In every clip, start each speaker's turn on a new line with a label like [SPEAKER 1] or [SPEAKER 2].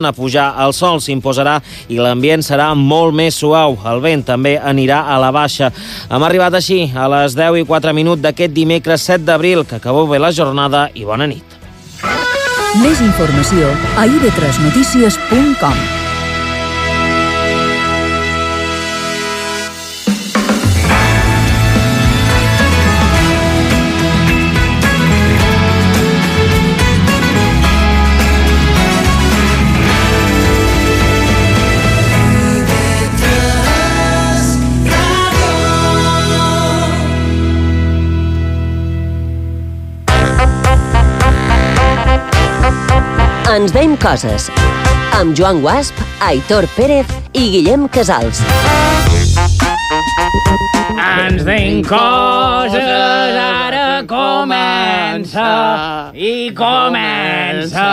[SPEAKER 1] a pujar, el sol s'imposarà i l'ambient serà molt més suau. El vent també anirà a la baixa. Hem arribat així a les 10 i 4 minuts d'aquest dimecres 7 d'abril, que acabeu bé la jornada i bona nit.
[SPEAKER 2] Més informació a ib3notícies.com
[SPEAKER 3] Ens veiem coses. Amb Joan Guasp, Aitor Pérez i Guillem Casals.
[SPEAKER 4] Ens deim coses, ara comença, i comença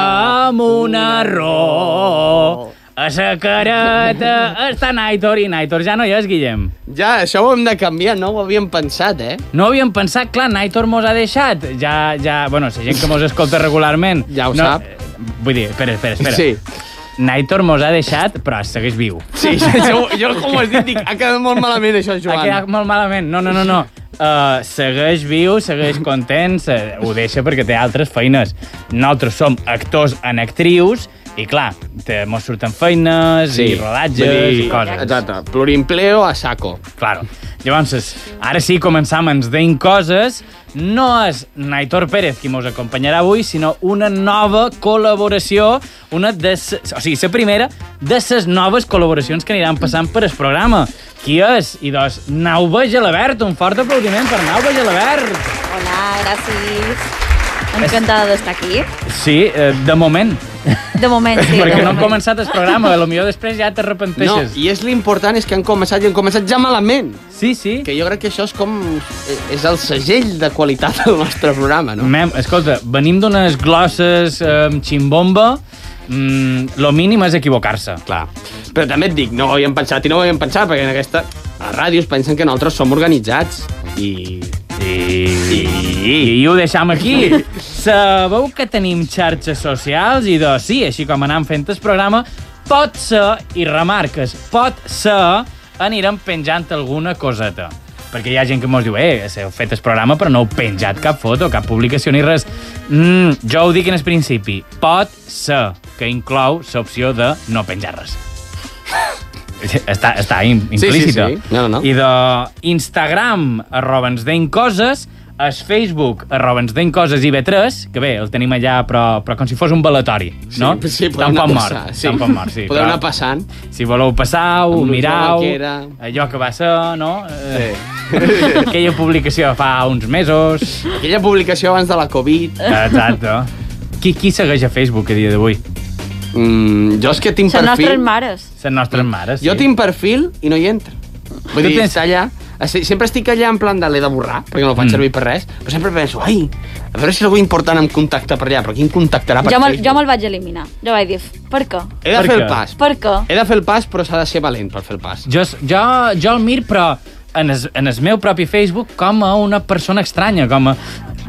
[SPEAKER 4] amb un error. A sa careta està Naitor, i Naitor ja no hi és, Guillem.
[SPEAKER 5] Ja, això ho hem de canviar, no ho havíem pensat, eh?
[SPEAKER 4] No havíem pensat, clar, Naitor mos ha deixat. Ja, ja, bueno, si gent que mos escolta regularment...
[SPEAKER 5] Ja ho
[SPEAKER 4] no,
[SPEAKER 5] sap.
[SPEAKER 4] eh, Vull dir, espera, espera, espera.
[SPEAKER 5] Sí.
[SPEAKER 4] Naitor mos ha deixat, però segueix viu.
[SPEAKER 5] Sí, jo, jo com ho has dit, dic, ha quedat molt malament això, Joan.
[SPEAKER 4] Ha quedat molt malament. No, no, no, no. Uh, segueix viu, segueix content, se... ho deixa perquè té altres feines. Nosaltres som actors en actrius i, clar, te, mos surten feines sí. i rodatges
[SPEAKER 5] vull
[SPEAKER 4] i coses.
[SPEAKER 5] Exacte, plurimpleo a saco.
[SPEAKER 4] Claro. Llavors, ara sí, començam ens deim coses. No és Naitor Pérez qui mos acompanyarà avui, sinó una nova col·laboració, una de ses, o sigui, la primera de ses noves col·laboracions que aniran passant per el programa. Qui és? I doncs, Nauva Gelabert. Un fort aplaudiment per Nauva Gelabert.
[SPEAKER 6] Hola, gràcies. Encantada d'estar aquí.
[SPEAKER 4] Sí, eh, de moment.
[SPEAKER 6] De moment, sí.
[SPEAKER 4] perquè
[SPEAKER 6] de
[SPEAKER 4] no hem
[SPEAKER 6] moment.
[SPEAKER 4] començat el programa, a lo millor després ja
[SPEAKER 5] No,
[SPEAKER 4] t'arrepenteixes.
[SPEAKER 5] i és l'important és que han començat i han començat ja malament.
[SPEAKER 4] Sí, sí.
[SPEAKER 5] Que jo crec que això és com... és el segell de qualitat del nostre programa, no?
[SPEAKER 4] Mem, escolta, venim d'unes glosses eh, amb ximbomba. Mm, lo mínim és equivocar-se.
[SPEAKER 5] Clar. Però també et dic, no ho havíem pensat i no ho havíem pensat, perquè en aquesta... A ràdios pensen que nosaltres som organitzats i...
[SPEAKER 4] I, i ho deixam aquí. Sabeu que tenim xarxes socials i doncs sí, així com anam fent el programa, pot ser, i remarques, pot ser, anirem penjant alguna coseta. Perquè hi ha gent que mos diu, eh, heu fet el programa però no heu penjat cap foto, cap publicació ni res. Mm, jo ho dic en el principi, pot ser, que inclou l'opció de no penjar res. Està, està im-
[SPEAKER 5] sí,
[SPEAKER 4] implícita.
[SPEAKER 5] sí. No, no.
[SPEAKER 4] I de Instagram, arroba ens deim coses, es Facebook, arroba ens deim coses i B3, que bé, el tenim allà, però, però com si fos un velatori, no?
[SPEAKER 5] Sí, sí, podeu
[SPEAKER 4] Tampoc
[SPEAKER 5] anar
[SPEAKER 4] mort,
[SPEAKER 5] passant, sí.
[SPEAKER 4] tampoc mort, sí.
[SPEAKER 5] Podeu
[SPEAKER 4] però
[SPEAKER 5] anar passant.
[SPEAKER 4] Si voleu passar, ho
[SPEAKER 5] Amb l'ull de
[SPEAKER 4] mirau,
[SPEAKER 5] vaquera.
[SPEAKER 4] allò que va ser, no? Sí. Aquella publicació de fa uns mesos.
[SPEAKER 5] Aquella publicació abans de la Covid...
[SPEAKER 4] Exacte. Qui, qui segueix a Facebook a dia d'avui?
[SPEAKER 5] Mm, jo és que tinc
[SPEAKER 6] Són
[SPEAKER 5] perfil...
[SPEAKER 6] nostres mares.
[SPEAKER 4] Les nostres mares.
[SPEAKER 5] Jo tinc perfil i no hi entro. Vull
[SPEAKER 4] Tu
[SPEAKER 5] dir,
[SPEAKER 4] tens-
[SPEAKER 5] tens... allà... es- Sempre estic allà en plan de l'he de borrar, perquè no el faig
[SPEAKER 4] Mm.
[SPEAKER 5] mm. servir per res, però sempre penso, ai, a veure si algú important em contacta per allà, però qui em contactarà Ah, per
[SPEAKER 6] Jo me'l
[SPEAKER 5] Facebook?
[SPEAKER 6] jo me'l vaig eliminar. Jo vaig dir, per què?
[SPEAKER 5] He de
[SPEAKER 4] Per
[SPEAKER 5] fer
[SPEAKER 4] què?
[SPEAKER 5] el pas.
[SPEAKER 6] Per què?
[SPEAKER 5] He de fer el pas, però s'ha de ser valent per fer el pas.
[SPEAKER 4] Jo, jo, jo el mir, però en es, en es meu propi Facebook com a una persona estranya, com a...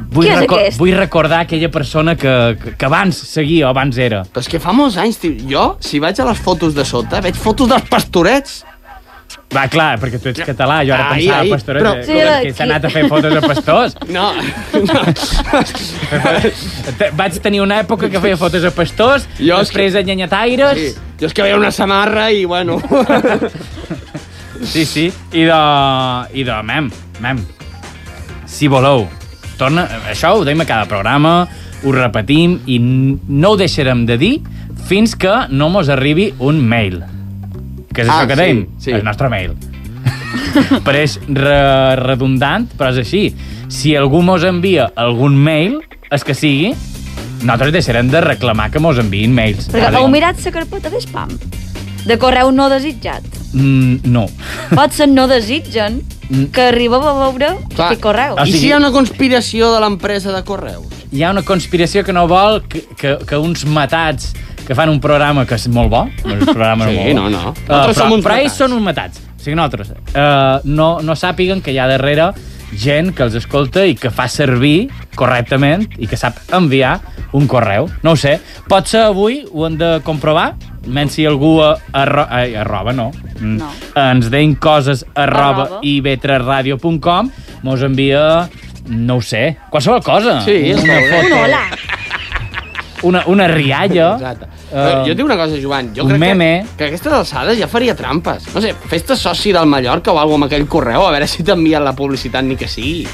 [SPEAKER 4] Vull,
[SPEAKER 6] Qui és aquest?
[SPEAKER 4] vull recordar aquella persona que, que, que abans seguia o abans era.
[SPEAKER 5] Però és que fa molts anys, tio, jo, si vaig a les fotos de sota, veig fotos dels pastorets.
[SPEAKER 4] Va, clar, perquè tu ets català, jo ara
[SPEAKER 5] Ai,
[SPEAKER 4] pensava
[SPEAKER 5] ai,
[SPEAKER 4] pastores,
[SPEAKER 5] però-
[SPEAKER 4] eh,
[SPEAKER 6] Sí,
[SPEAKER 4] que-
[SPEAKER 6] aquí.
[SPEAKER 4] que s'ha anat a fer fotos de pastors.
[SPEAKER 5] No, no.
[SPEAKER 4] Te- Vaig tenir una època que feia fotos de pastors,
[SPEAKER 5] Jo és
[SPEAKER 4] després
[SPEAKER 5] que-
[SPEAKER 4] de nyanyataires...
[SPEAKER 5] Sí. Jo és que veia una samarra i, bueno...
[SPEAKER 4] Sí, sí. I de... I de... Mem, mem. Si voleu, torna... Això ho deim a cada programa, ho repetim i n- no ho deixarem de dir fins que no mos arribi un mail. Que és
[SPEAKER 5] Ah,
[SPEAKER 4] això que
[SPEAKER 5] sí,
[SPEAKER 4] deim?
[SPEAKER 5] sí.
[SPEAKER 4] El nostre mail. Pareix re redundant, però és així. Si algú mos envia algun mail, és que sigui, nosaltres deixarem de reclamar que mos enviïn mails.
[SPEAKER 6] Perquè
[SPEAKER 4] Vale?
[SPEAKER 6] heu mirat la carpeta de spam? De correu no desitjat.
[SPEAKER 4] Mm, no.
[SPEAKER 6] Potser no desitgen que arribeu a veure
[SPEAKER 5] Mm. Clar. Ah,
[SPEAKER 6] aquest correu.
[SPEAKER 4] O
[SPEAKER 5] I
[SPEAKER 4] sigui-
[SPEAKER 5] si hi ha una conspiració de l'empresa de correus?
[SPEAKER 4] hi ha una conspiració que no vol que, que, que uns matats que fan un programa que és molt bo, un programa
[SPEAKER 5] Sí,
[SPEAKER 4] molt bo.
[SPEAKER 5] no,
[SPEAKER 4] Eh,
[SPEAKER 5] no.
[SPEAKER 4] però,
[SPEAKER 5] Nosaltres som uns
[SPEAKER 4] però ells
[SPEAKER 5] matats.
[SPEAKER 4] són uns matats. O sigui, nosaltres eh, no, no sàpiguen que hi ha darrere gent que els escolta i que fa servir correctament i que sap enviar un correu. No ho sé. Potser avui ho hem de comprovar, menys si algú a, arro, ai, arroba, no. Mm.
[SPEAKER 6] No.
[SPEAKER 4] Ens deim coses arroba,
[SPEAKER 6] Arroba.
[SPEAKER 4] arroba. ib3radio.com mos envia, no ho sé, qualsevol cosa.
[SPEAKER 5] Sí, és
[SPEAKER 4] una
[SPEAKER 5] molt bé.
[SPEAKER 6] Un
[SPEAKER 4] foto,
[SPEAKER 6] hola.
[SPEAKER 4] una, una rialla.
[SPEAKER 5] Exacte.
[SPEAKER 4] Eh,
[SPEAKER 5] Uh, jo et dic una cosa, Joan. Jo
[SPEAKER 4] un
[SPEAKER 5] crec
[SPEAKER 4] meme.
[SPEAKER 5] Que, que a aquestes alçades ja faria trampes. No sé, fes-te soci del Mallorca o alguna amb aquell correu, a veure si t'envien la publicitat ni que sigui.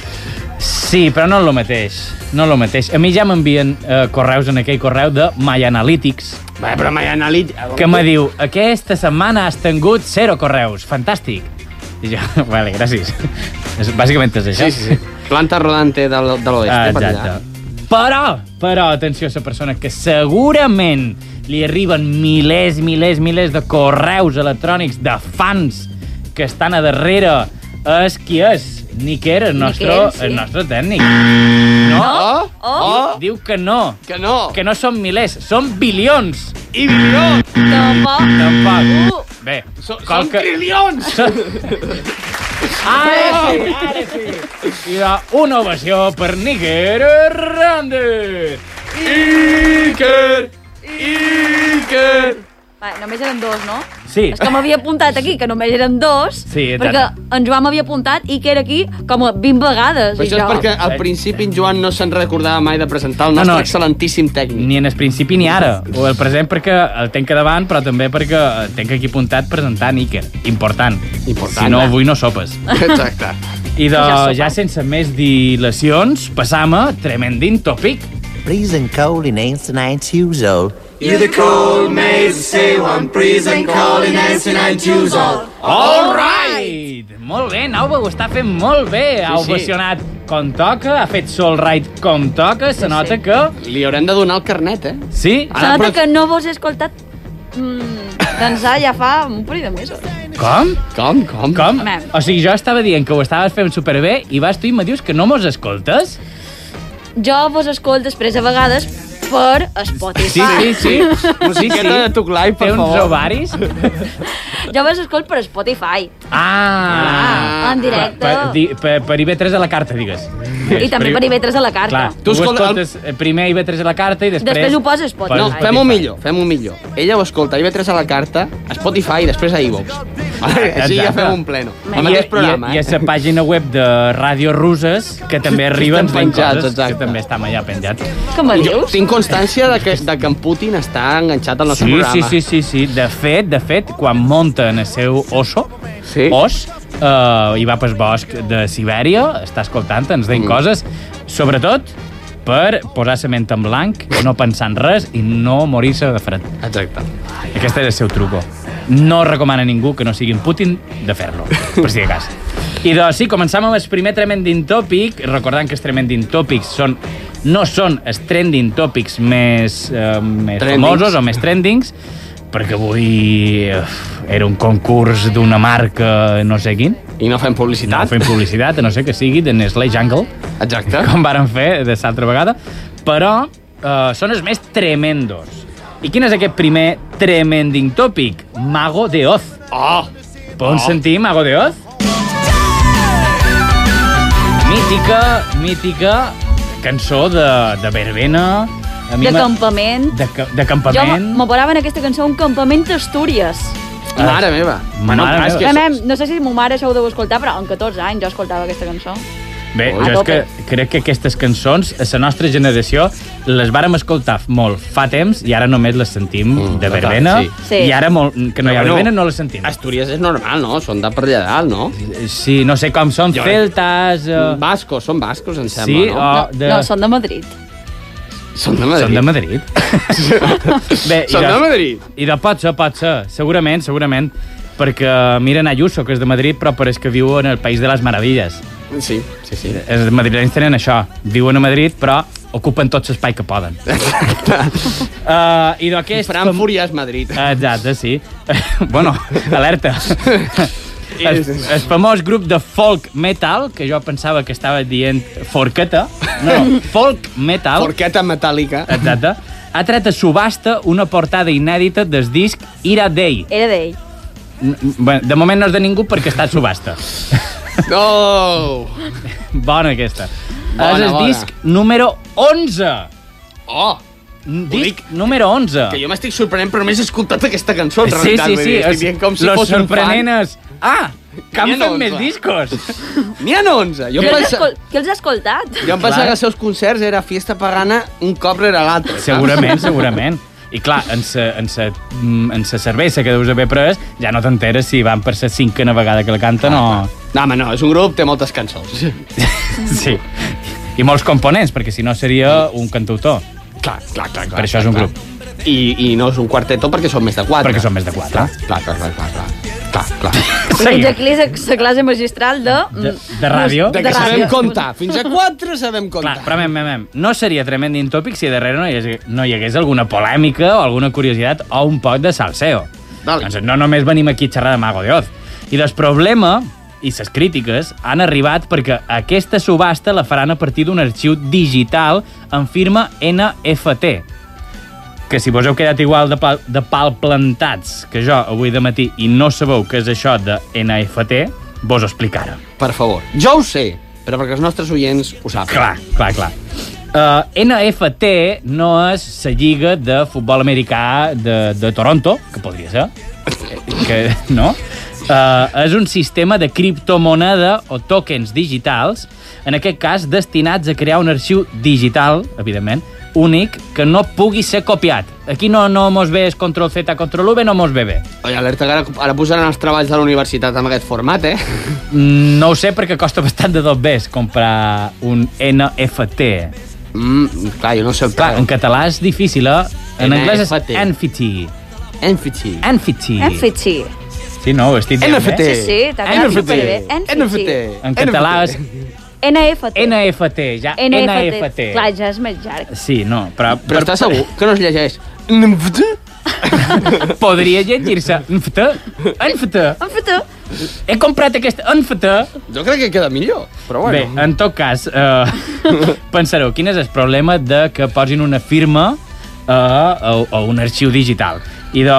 [SPEAKER 4] Sí, però no és el mateix. No és el mateix. A mi ja m'envien eh, correus en aquell correu de My Analytics,
[SPEAKER 5] Bé, però m'he analitzat...
[SPEAKER 4] que me diu, aquesta setmana has tingut zero correus. Fantàstic. I jo, vale, gràcies. És, bàsicament és això.
[SPEAKER 5] Sí, sí, sí. Planta rodante de, l- de l'oest,
[SPEAKER 4] Ah,
[SPEAKER 5] eh, per allà.
[SPEAKER 4] Exacte. Però, però, atenció a la persona que segurament li arriben milers, milers, milers de correus electrònics de fans que estan a darrere és qui és? Nicker, el nostre,
[SPEAKER 6] Nicker, sí.
[SPEAKER 4] el nostre tècnic. No?
[SPEAKER 5] Oh?
[SPEAKER 6] Oh.
[SPEAKER 5] Oh?
[SPEAKER 4] Diu que no.
[SPEAKER 5] Que no.
[SPEAKER 4] Que no són milers, són bilions.
[SPEAKER 5] I milions!
[SPEAKER 6] Tampoc.
[SPEAKER 4] Tampoc.
[SPEAKER 6] Uh.
[SPEAKER 4] Bé,
[SPEAKER 5] So,
[SPEAKER 4] qual
[SPEAKER 5] són que... trilions!
[SPEAKER 4] Ara sí, ara sí. I va, una ovació per Níger Hernández.
[SPEAKER 5] Iker! Iker!
[SPEAKER 6] Va, només eren dos, no?
[SPEAKER 4] Sí.
[SPEAKER 6] És que m'havia apuntat aquí, que només eren dos,
[SPEAKER 4] Sí, tant.
[SPEAKER 6] perquè en Joan m'havia apuntat i que era aquí com a 20 vegades.
[SPEAKER 5] Però
[SPEAKER 6] i
[SPEAKER 5] això és
[SPEAKER 6] jo,
[SPEAKER 5] perquè al principi en Joan no se'n recordava mai de presentar el nostre
[SPEAKER 4] No,
[SPEAKER 5] no,
[SPEAKER 4] no.
[SPEAKER 5] no. excel·lentíssim tècnic.
[SPEAKER 4] Ni en el principi ni ara. O el present perquè el tenc a davant, però també perquè el tenc aquí apuntat presentar Níquer. Important.
[SPEAKER 5] Important,
[SPEAKER 4] Si no,
[SPEAKER 5] eh?
[SPEAKER 4] avui no sopes.
[SPEAKER 5] Exacte.
[SPEAKER 4] I de,
[SPEAKER 6] Ja
[SPEAKER 4] ja,
[SPEAKER 6] sopes.
[SPEAKER 4] ja sense més dilacions, passam a Tremendin Topic.
[SPEAKER 7] Freezing cold in 89 years old.
[SPEAKER 4] All right! Molt bé, Nauba ho està fent molt bé. Sí, ha
[SPEAKER 5] sí.
[SPEAKER 4] ovacionat com toca, ha fet sol ride com toca, se nota que...
[SPEAKER 5] Li haurem de donar el carnet, eh?
[SPEAKER 4] Sí? Ah,
[SPEAKER 5] Ara,
[SPEAKER 6] Sembla
[SPEAKER 5] però-
[SPEAKER 6] que no vos he escoltat mm, dansar ja fa un parell de mesos.
[SPEAKER 4] Com?
[SPEAKER 5] Com, com?
[SPEAKER 4] Com?
[SPEAKER 6] Home.
[SPEAKER 4] O sigui, jo estava dient que ho estaves fent superbé i vas tu i me dius que no mos escoltes?
[SPEAKER 6] Jo vos escolto després a vegades per Spotify.
[SPEAKER 4] sí, sí.
[SPEAKER 5] Musiqueta de Tuclai, per
[SPEAKER 4] Té uns
[SPEAKER 5] favor.
[SPEAKER 4] ovaris?
[SPEAKER 6] Jo vos escolto per Spotify.
[SPEAKER 4] Ah!
[SPEAKER 6] en directe.
[SPEAKER 4] Per, di, per, per IB3 a la carta, digues.
[SPEAKER 6] I també per IB3 a la carta.
[SPEAKER 4] Clar,
[SPEAKER 6] Clar.
[SPEAKER 4] tu
[SPEAKER 5] Tu escolta-
[SPEAKER 4] escoltes el... primer IB3 a la carta i després...
[SPEAKER 6] Després ho poses Spotify.
[SPEAKER 4] Per
[SPEAKER 5] No,
[SPEAKER 6] Spotify.
[SPEAKER 5] fem-ho millor, fem-ho millor. Ella ho escolta, IB3 a la carta, a Spotify i després a iVox. Vale, així ja
[SPEAKER 4] Exacte.
[SPEAKER 5] fem un pleno.
[SPEAKER 4] I,
[SPEAKER 5] El mateix programa,
[SPEAKER 4] i, i a
[SPEAKER 5] eh?
[SPEAKER 4] la pàgina web de Ràdio Ruses, que també arriben
[SPEAKER 5] estan penjats,
[SPEAKER 4] coses
[SPEAKER 5] exacte.
[SPEAKER 4] que també estan allà penjats.
[SPEAKER 6] Com ho
[SPEAKER 5] Jo
[SPEAKER 6] dius?
[SPEAKER 5] tinc constància de que, de que en Putin està enganxat al nostre
[SPEAKER 4] Sí,
[SPEAKER 5] programa.
[SPEAKER 4] sí, sí, sí, sí. De fet, de fet, quan munten el seu oso,
[SPEAKER 5] Sí.
[SPEAKER 4] os, eh, i va pel bosc de Sibèria, està escoltant, ens deien mm. coses, sobretot per posar la ment en blanc, no pensar en res i no morir-se de fred.
[SPEAKER 5] Exacte.
[SPEAKER 4] Aquest és el seu truco. No recomana a ningú que no sigui en Putin de fer-lo, per si de cas. I doncs sí, començam amb el primer Tremending Topic, recordant que els Tremending Topics són, no són els trending topics més, eh, més
[SPEAKER 5] Trendings.
[SPEAKER 4] famosos o més trendings, perquè avui eh, era un concurs d'una marca no sé quin,
[SPEAKER 5] I no fem
[SPEAKER 4] no
[SPEAKER 5] publicitat.
[SPEAKER 4] fent publicitat, a no sé que sigui, de Nestlé Jungle,
[SPEAKER 5] Exacte.
[SPEAKER 4] com varen fer de l'altra vegada, però eh, són els més tremendos. I quin és aquest primer tremending tòpic? Mago de Oz.
[SPEAKER 5] Oh!
[SPEAKER 4] Podem oh. sentir Mago de Oz? Mítica, mítica cançó de, de verbena. A mi
[SPEAKER 6] De
[SPEAKER 4] m'ha-
[SPEAKER 6] campament.
[SPEAKER 4] De, ca- de
[SPEAKER 6] Jo
[SPEAKER 4] campament.
[SPEAKER 6] m'ho parava en aquesta cançó a un campament d'Astúries.
[SPEAKER 5] Mare meva.
[SPEAKER 4] Mare
[SPEAKER 5] clar, és
[SPEAKER 4] meva.
[SPEAKER 5] que
[SPEAKER 6] Mem,
[SPEAKER 5] és-
[SPEAKER 6] mem, No sé si ma mare això ho deu escoltar, però amb 14 anys jo escoltava aquesta cançó.
[SPEAKER 4] Bé,
[SPEAKER 6] A
[SPEAKER 4] jo és que
[SPEAKER 6] tope.
[SPEAKER 4] crec que aquestes cançons, a la nostra generació, les vàrem escoltar molt fa temps i ara només les sentim mm, de
[SPEAKER 5] total,
[SPEAKER 4] verbena.
[SPEAKER 5] sí.
[SPEAKER 6] Sí.
[SPEAKER 4] I ara molt, que no hi ha
[SPEAKER 5] Bueno,
[SPEAKER 4] verbena no les sentim.
[SPEAKER 5] Astúries és normal, no? Són de per allà dalt, no?
[SPEAKER 4] Sí, no sé com són,
[SPEAKER 5] Jo-
[SPEAKER 4] celtes... Uh...
[SPEAKER 5] Bascos, són bascos, em sembla,
[SPEAKER 4] Sí,
[SPEAKER 5] no?
[SPEAKER 4] o Ah, de...
[SPEAKER 6] No, són de Madrid.
[SPEAKER 5] oh. Són de Madrid.
[SPEAKER 4] Són de Madrid. Bé,
[SPEAKER 5] Són de Madrid.
[SPEAKER 4] I de pot ser, pot ser. Segurament, segurament. Perquè eh, miren Ayuso, que és de Madrid, però pareix que viu en el País de les Meravilles.
[SPEAKER 5] Sí, sí, sí.
[SPEAKER 4] Els madrilenys tenen això. Viuen a Madrid, però ocupen tot l'espai que poden. uh, I d'aquest...
[SPEAKER 5] Frankfurt ja és Eh? Madrid.
[SPEAKER 4] Exacte, sí. bueno, alerta. El, el famós grup de folk metal, que jo pensava que estava dient forqueta. No, folk metal.
[SPEAKER 5] Porqueta metàl·lica.
[SPEAKER 4] Exacte. Ha tret a subhasta una portada inèdita del disc Ira Day.
[SPEAKER 6] Era d'ell.
[SPEAKER 4] N- n- bé, De moment no és de ningú perquè està a subhasta.
[SPEAKER 5] Oh!
[SPEAKER 4] Bona aquesta.
[SPEAKER 5] Bona,
[SPEAKER 4] és el
[SPEAKER 5] bona.
[SPEAKER 4] disc número 11.
[SPEAKER 5] Oh!
[SPEAKER 4] Disc
[SPEAKER 5] dic,
[SPEAKER 4] número 11.
[SPEAKER 5] Que jo m'estic sorprenent, però només he escoltat aquesta cançó, en
[SPEAKER 4] Sí,
[SPEAKER 5] realitat.
[SPEAKER 4] sí,
[SPEAKER 5] vull
[SPEAKER 4] sí.
[SPEAKER 5] dir,
[SPEAKER 4] és-
[SPEAKER 5] Estic dient com si
[SPEAKER 4] Los
[SPEAKER 5] fos un fan.
[SPEAKER 4] sorprenenes. Ah, que han
[SPEAKER 5] N'hi ha
[SPEAKER 4] fet més
[SPEAKER 5] 11.
[SPEAKER 4] discos.
[SPEAKER 5] N'hi ha 11. Jo
[SPEAKER 6] Què
[SPEAKER 5] em,
[SPEAKER 6] els,
[SPEAKER 5] pensa...
[SPEAKER 6] escol... què els he escoltat?
[SPEAKER 5] jo em pensava que els seus concerts era fiesta pagana un cop rere l'altre. saps?
[SPEAKER 4] segurament, segurament. I clar, en sa, en, sa, mm, en sa cervesa que deus haver pres, ja no t'enteres si van per sa cinquena vegada que la canten o...
[SPEAKER 5] No, home, no, és un grup, té moltes cançons.
[SPEAKER 4] Sí. I molts components, perquè si no seria un cantautor.
[SPEAKER 5] Clar, clar, clar. clar
[SPEAKER 4] Per això és un
[SPEAKER 5] clar.
[SPEAKER 4] grup.
[SPEAKER 5] I, I no és un quarteto perquè són més de quatre.
[SPEAKER 4] Perquè són més de quatre.
[SPEAKER 5] Clar, clar, clar, clar, clar. clar, clar.
[SPEAKER 6] Seguim.
[SPEAKER 4] Seguim.
[SPEAKER 6] Aquí és la classe magistral de... mm,
[SPEAKER 4] De, de ràdio.
[SPEAKER 5] De que sabem comptar. Fins a quatre sabem
[SPEAKER 4] Clar,
[SPEAKER 5] comptar.
[SPEAKER 4] però mem, mem, mem. no seria Trending Topic si darrere no hi, hagués, no hi hagués alguna polèmica o alguna curiositat o un poc de salseo.
[SPEAKER 5] Dale.
[SPEAKER 4] Doncs no només venim aquí a xerrar de Mago de Oz. I el problema i les crítiques han arribat perquè aquesta subhasta la faran a partir d'un arxiu digital en firma NFT, que si vos heu quedat igual de pal, de pal plantats que jo avui de matí i no sabeu què és això de NFT, vos ho explicaré.
[SPEAKER 5] Per favor. Jo ho sé, però perquè els nostres oients ho saben.
[SPEAKER 4] Clar, clar, clar. Uh, NFT no és la lliga de futbol americà de, de Toronto, que podria ser, eh, que no, uh, és un sistema de criptomoneda o tokens digitals, en aquest cas destinats a crear un arxiu digital, evidentment, únic, que no pugui ser copiat. Aquí no, no mos ve és control Z, control V, no mos ve bé.
[SPEAKER 5] Oi, alerta, que ara, ara posaran els treballs de la universitat amb aquest format, eh?
[SPEAKER 4] Mm, No ho sé perquè costa bastant de dos bes comprar un NFT.
[SPEAKER 5] Mm, clar, jo no sé el
[SPEAKER 4] Clar, en català és difícil, eh? En anglès és
[SPEAKER 5] NFT.
[SPEAKER 4] NFT.
[SPEAKER 5] Enfitxi.
[SPEAKER 4] NFT.
[SPEAKER 6] NFT.
[SPEAKER 4] Sí, no, ho estic dient.
[SPEAKER 5] NFT.
[SPEAKER 4] Eh?
[SPEAKER 6] Sí, sí, t'ha quedat superbé.
[SPEAKER 5] NFT.
[SPEAKER 6] NFT.
[SPEAKER 4] En català és
[SPEAKER 6] NFT.
[SPEAKER 4] NFT, ja. NFT.
[SPEAKER 6] Clar, ja és més llarg.
[SPEAKER 4] Sí, no, però...
[SPEAKER 5] Però
[SPEAKER 4] per-
[SPEAKER 5] estàs segur que no es llegeix? NFT?
[SPEAKER 4] Podria llegir-se NFT, NFT.
[SPEAKER 6] NFT.
[SPEAKER 4] He comprat aquesta NFT.
[SPEAKER 5] Jo crec que queda millor, però
[SPEAKER 4] Bé,
[SPEAKER 5] bueno.
[SPEAKER 4] en tot cas, eh, pensareu, quin és el problema de que posin una firma eh, o, o un arxiu digital? I de,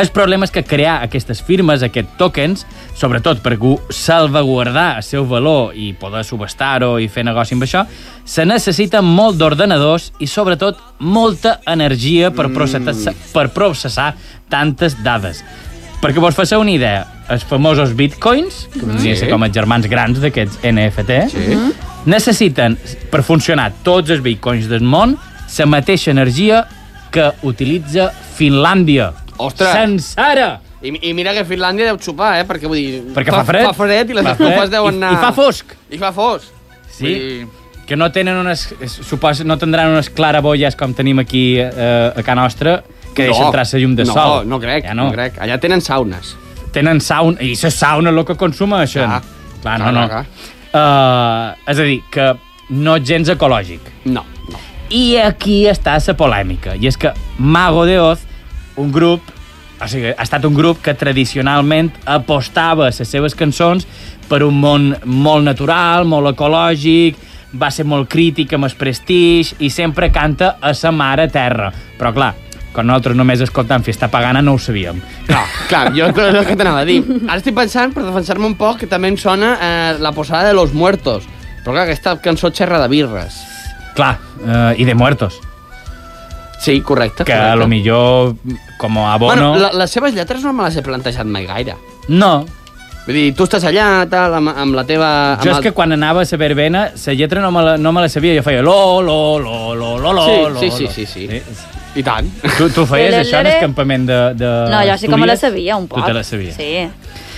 [SPEAKER 4] el problema és que crear aquestes firmes, aquests tokens, sobretot per gu- salvaguardar el seu valor i poder subestar-ho i fer negoci amb això, se necessita molt d'ordenadors i, sobretot, molta energia per processar, per processar tantes dades. Perquè vos faceu una idea, els famosos bitcoins, que podrien ser com els germans grans d'aquests NFT, sí. necessiten, per funcionar tots els bitcoins del món, la mateixa energia que utilitza Finlàndia.
[SPEAKER 5] Ostres.
[SPEAKER 4] Sencera!
[SPEAKER 5] I, I mira que Finlàndia deu xupar, eh? Perquè vull dir...
[SPEAKER 4] Perquè fa fred.
[SPEAKER 5] Fa fred i les
[SPEAKER 4] Fa
[SPEAKER 5] estufes
[SPEAKER 4] fred
[SPEAKER 5] deuen
[SPEAKER 4] i-
[SPEAKER 5] anar...
[SPEAKER 4] i fa fosc.
[SPEAKER 5] I fa fosc.
[SPEAKER 4] Sí.
[SPEAKER 5] Vull dir,
[SPEAKER 4] Que no tenen unes... es- Supos, no tendran unes claraboies com tenim aquí eh, a Can Nostra, que deixen entrar la llum de
[SPEAKER 5] no,
[SPEAKER 4] sol.
[SPEAKER 5] No, no crec,
[SPEAKER 4] Ja
[SPEAKER 5] no. no crec. Allà tenen saunes.
[SPEAKER 4] Tenen sauna, i la sauna és el que consumeixen.
[SPEAKER 5] Clar.
[SPEAKER 4] Clar,
[SPEAKER 5] Clar,
[SPEAKER 4] no, no.
[SPEAKER 5] clar, ah.
[SPEAKER 4] Uh, és a dir, que no és gens ecològic.
[SPEAKER 5] No, no.
[SPEAKER 4] I aquí està la polèmica, i és que Mago de Oz, un grup, o sigui, ha estat un grup que tradicionalment apostava les seves cançons per un món molt natural, molt ecològic, va ser molt crític amb el prestigi i sempre canta a sa mare terra. Però clar, quan nosaltres només escoltant Fiesta Pagana no ho sabíem.
[SPEAKER 5] Clar, clar, jo és el que t'anava a dir. Ara estic pensant, per defensar-me un poc, que també em sona eh, la posada de los muertos. Però clar, aquesta cançó xerra de birres.
[SPEAKER 4] Clar, eh, i de muertos,
[SPEAKER 5] Sí, correcte.
[SPEAKER 4] que a
[SPEAKER 5] correcte.
[SPEAKER 4] lo millor com a abono...
[SPEAKER 5] Bueno, la, les seves lletres no me les he plantejat mai gaire.
[SPEAKER 4] No,
[SPEAKER 5] Vull dir, tu estàs allà, tal, amb, amb la teva... Amb
[SPEAKER 4] Jo és que quan anava a la verbena, la lletra no me la, no me la sabia. Jo feia lo, lo, lo, lo, lo, lo,
[SPEAKER 5] Sí,
[SPEAKER 4] lo,
[SPEAKER 5] sí, sí,
[SPEAKER 4] lo.
[SPEAKER 5] sí, sí. I tant.
[SPEAKER 4] Tu, tu feies
[SPEAKER 6] Lere,
[SPEAKER 4] això en el
[SPEAKER 6] lere.
[SPEAKER 4] campament de, de
[SPEAKER 6] No, jo sí que me la
[SPEAKER 4] Astúries?
[SPEAKER 6] sabia un poc.
[SPEAKER 4] Tu te la sabies.
[SPEAKER 6] Sí.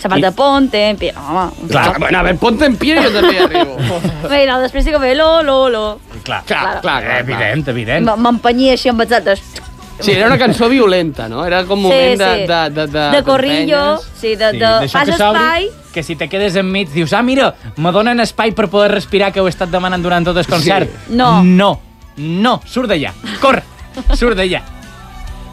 [SPEAKER 6] Sapat de ponte, en pi... Home, un
[SPEAKER 4] Clar.
[SPEAKER 5] Clar, bueno, a veure, ponte en pie, jo també arribo.
[SPEAKER 6] Mira, després sí que feia lo, lo, lo.
[SPEAKER 4] Clar,
[SPEAKER 5] Clar, clar, clar.
[SPEAKER 4] evident, evident.
[SPEAKER 6] M- M'empenyia així amb els altres.
[SPEAKER 5] Sí, era una cançó violenta, no? Era com un moment de...
[SPEAKER 6] sí.
[SPEAKER 5] De, de, de,
[SPEAKER 6] de corrillo,
[SPEAKER 5] d'empenyes.
[SPEAKER 6] sí, de,
[SPEAKER 4] Sí,
[SPEAKER 6] de...
[SPEAKER 4] d'això
[SPEAKER 6] fas
[SPEAKER 4] que s'obri,
[SPEAKER 6] espai...
[SPEAKER 4] Que si te quedes enmig, dius, ah, mira, me donen espai per poder respirar que ho he estat demanant durant tot el concert.
[SPEAKER 6] No.
[SPEAKER 4] No, no, surt d'allà, corre, surt d'allà.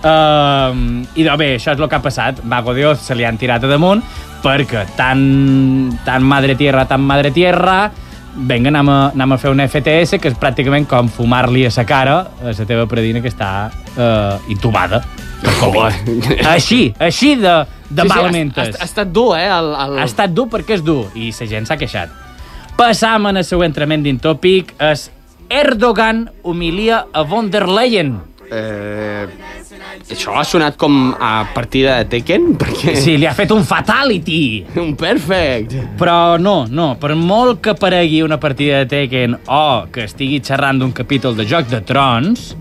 [SPEAKER 4] Um, I no, bé, això és el que ha passat. Vago Dios se li han tirat a damunt perquè tan, tan madre tierra, tan madre tierra, vinga, anem a, anem a fer un FTS que és pràcticament com fumar-li a sa cara a la teva predina que està eh, intubada. per Covid. així, així de, de sí, malament.
[SPEAKER 5] ha, ha, estat dur, eh? El, el...
[SPEAKER 4] Ha estat dur perquè és dur i la gent s'ha queixat. Passam en el següent tremendin tòpic és Erdogan humilia a von der Leyen.
[SPEAKER 5] Eh, això ha sonat com a partida de Tekken, perquè...
[SPEAKER 4] Sí, li ha fet un fatality.
[SPEAKER 5] Un perfect.
[SPEAKER 4] Però no, no, per molt que aparegui una partida de Tekken o que estigui xerrant d'un capítol de Joc de Trons,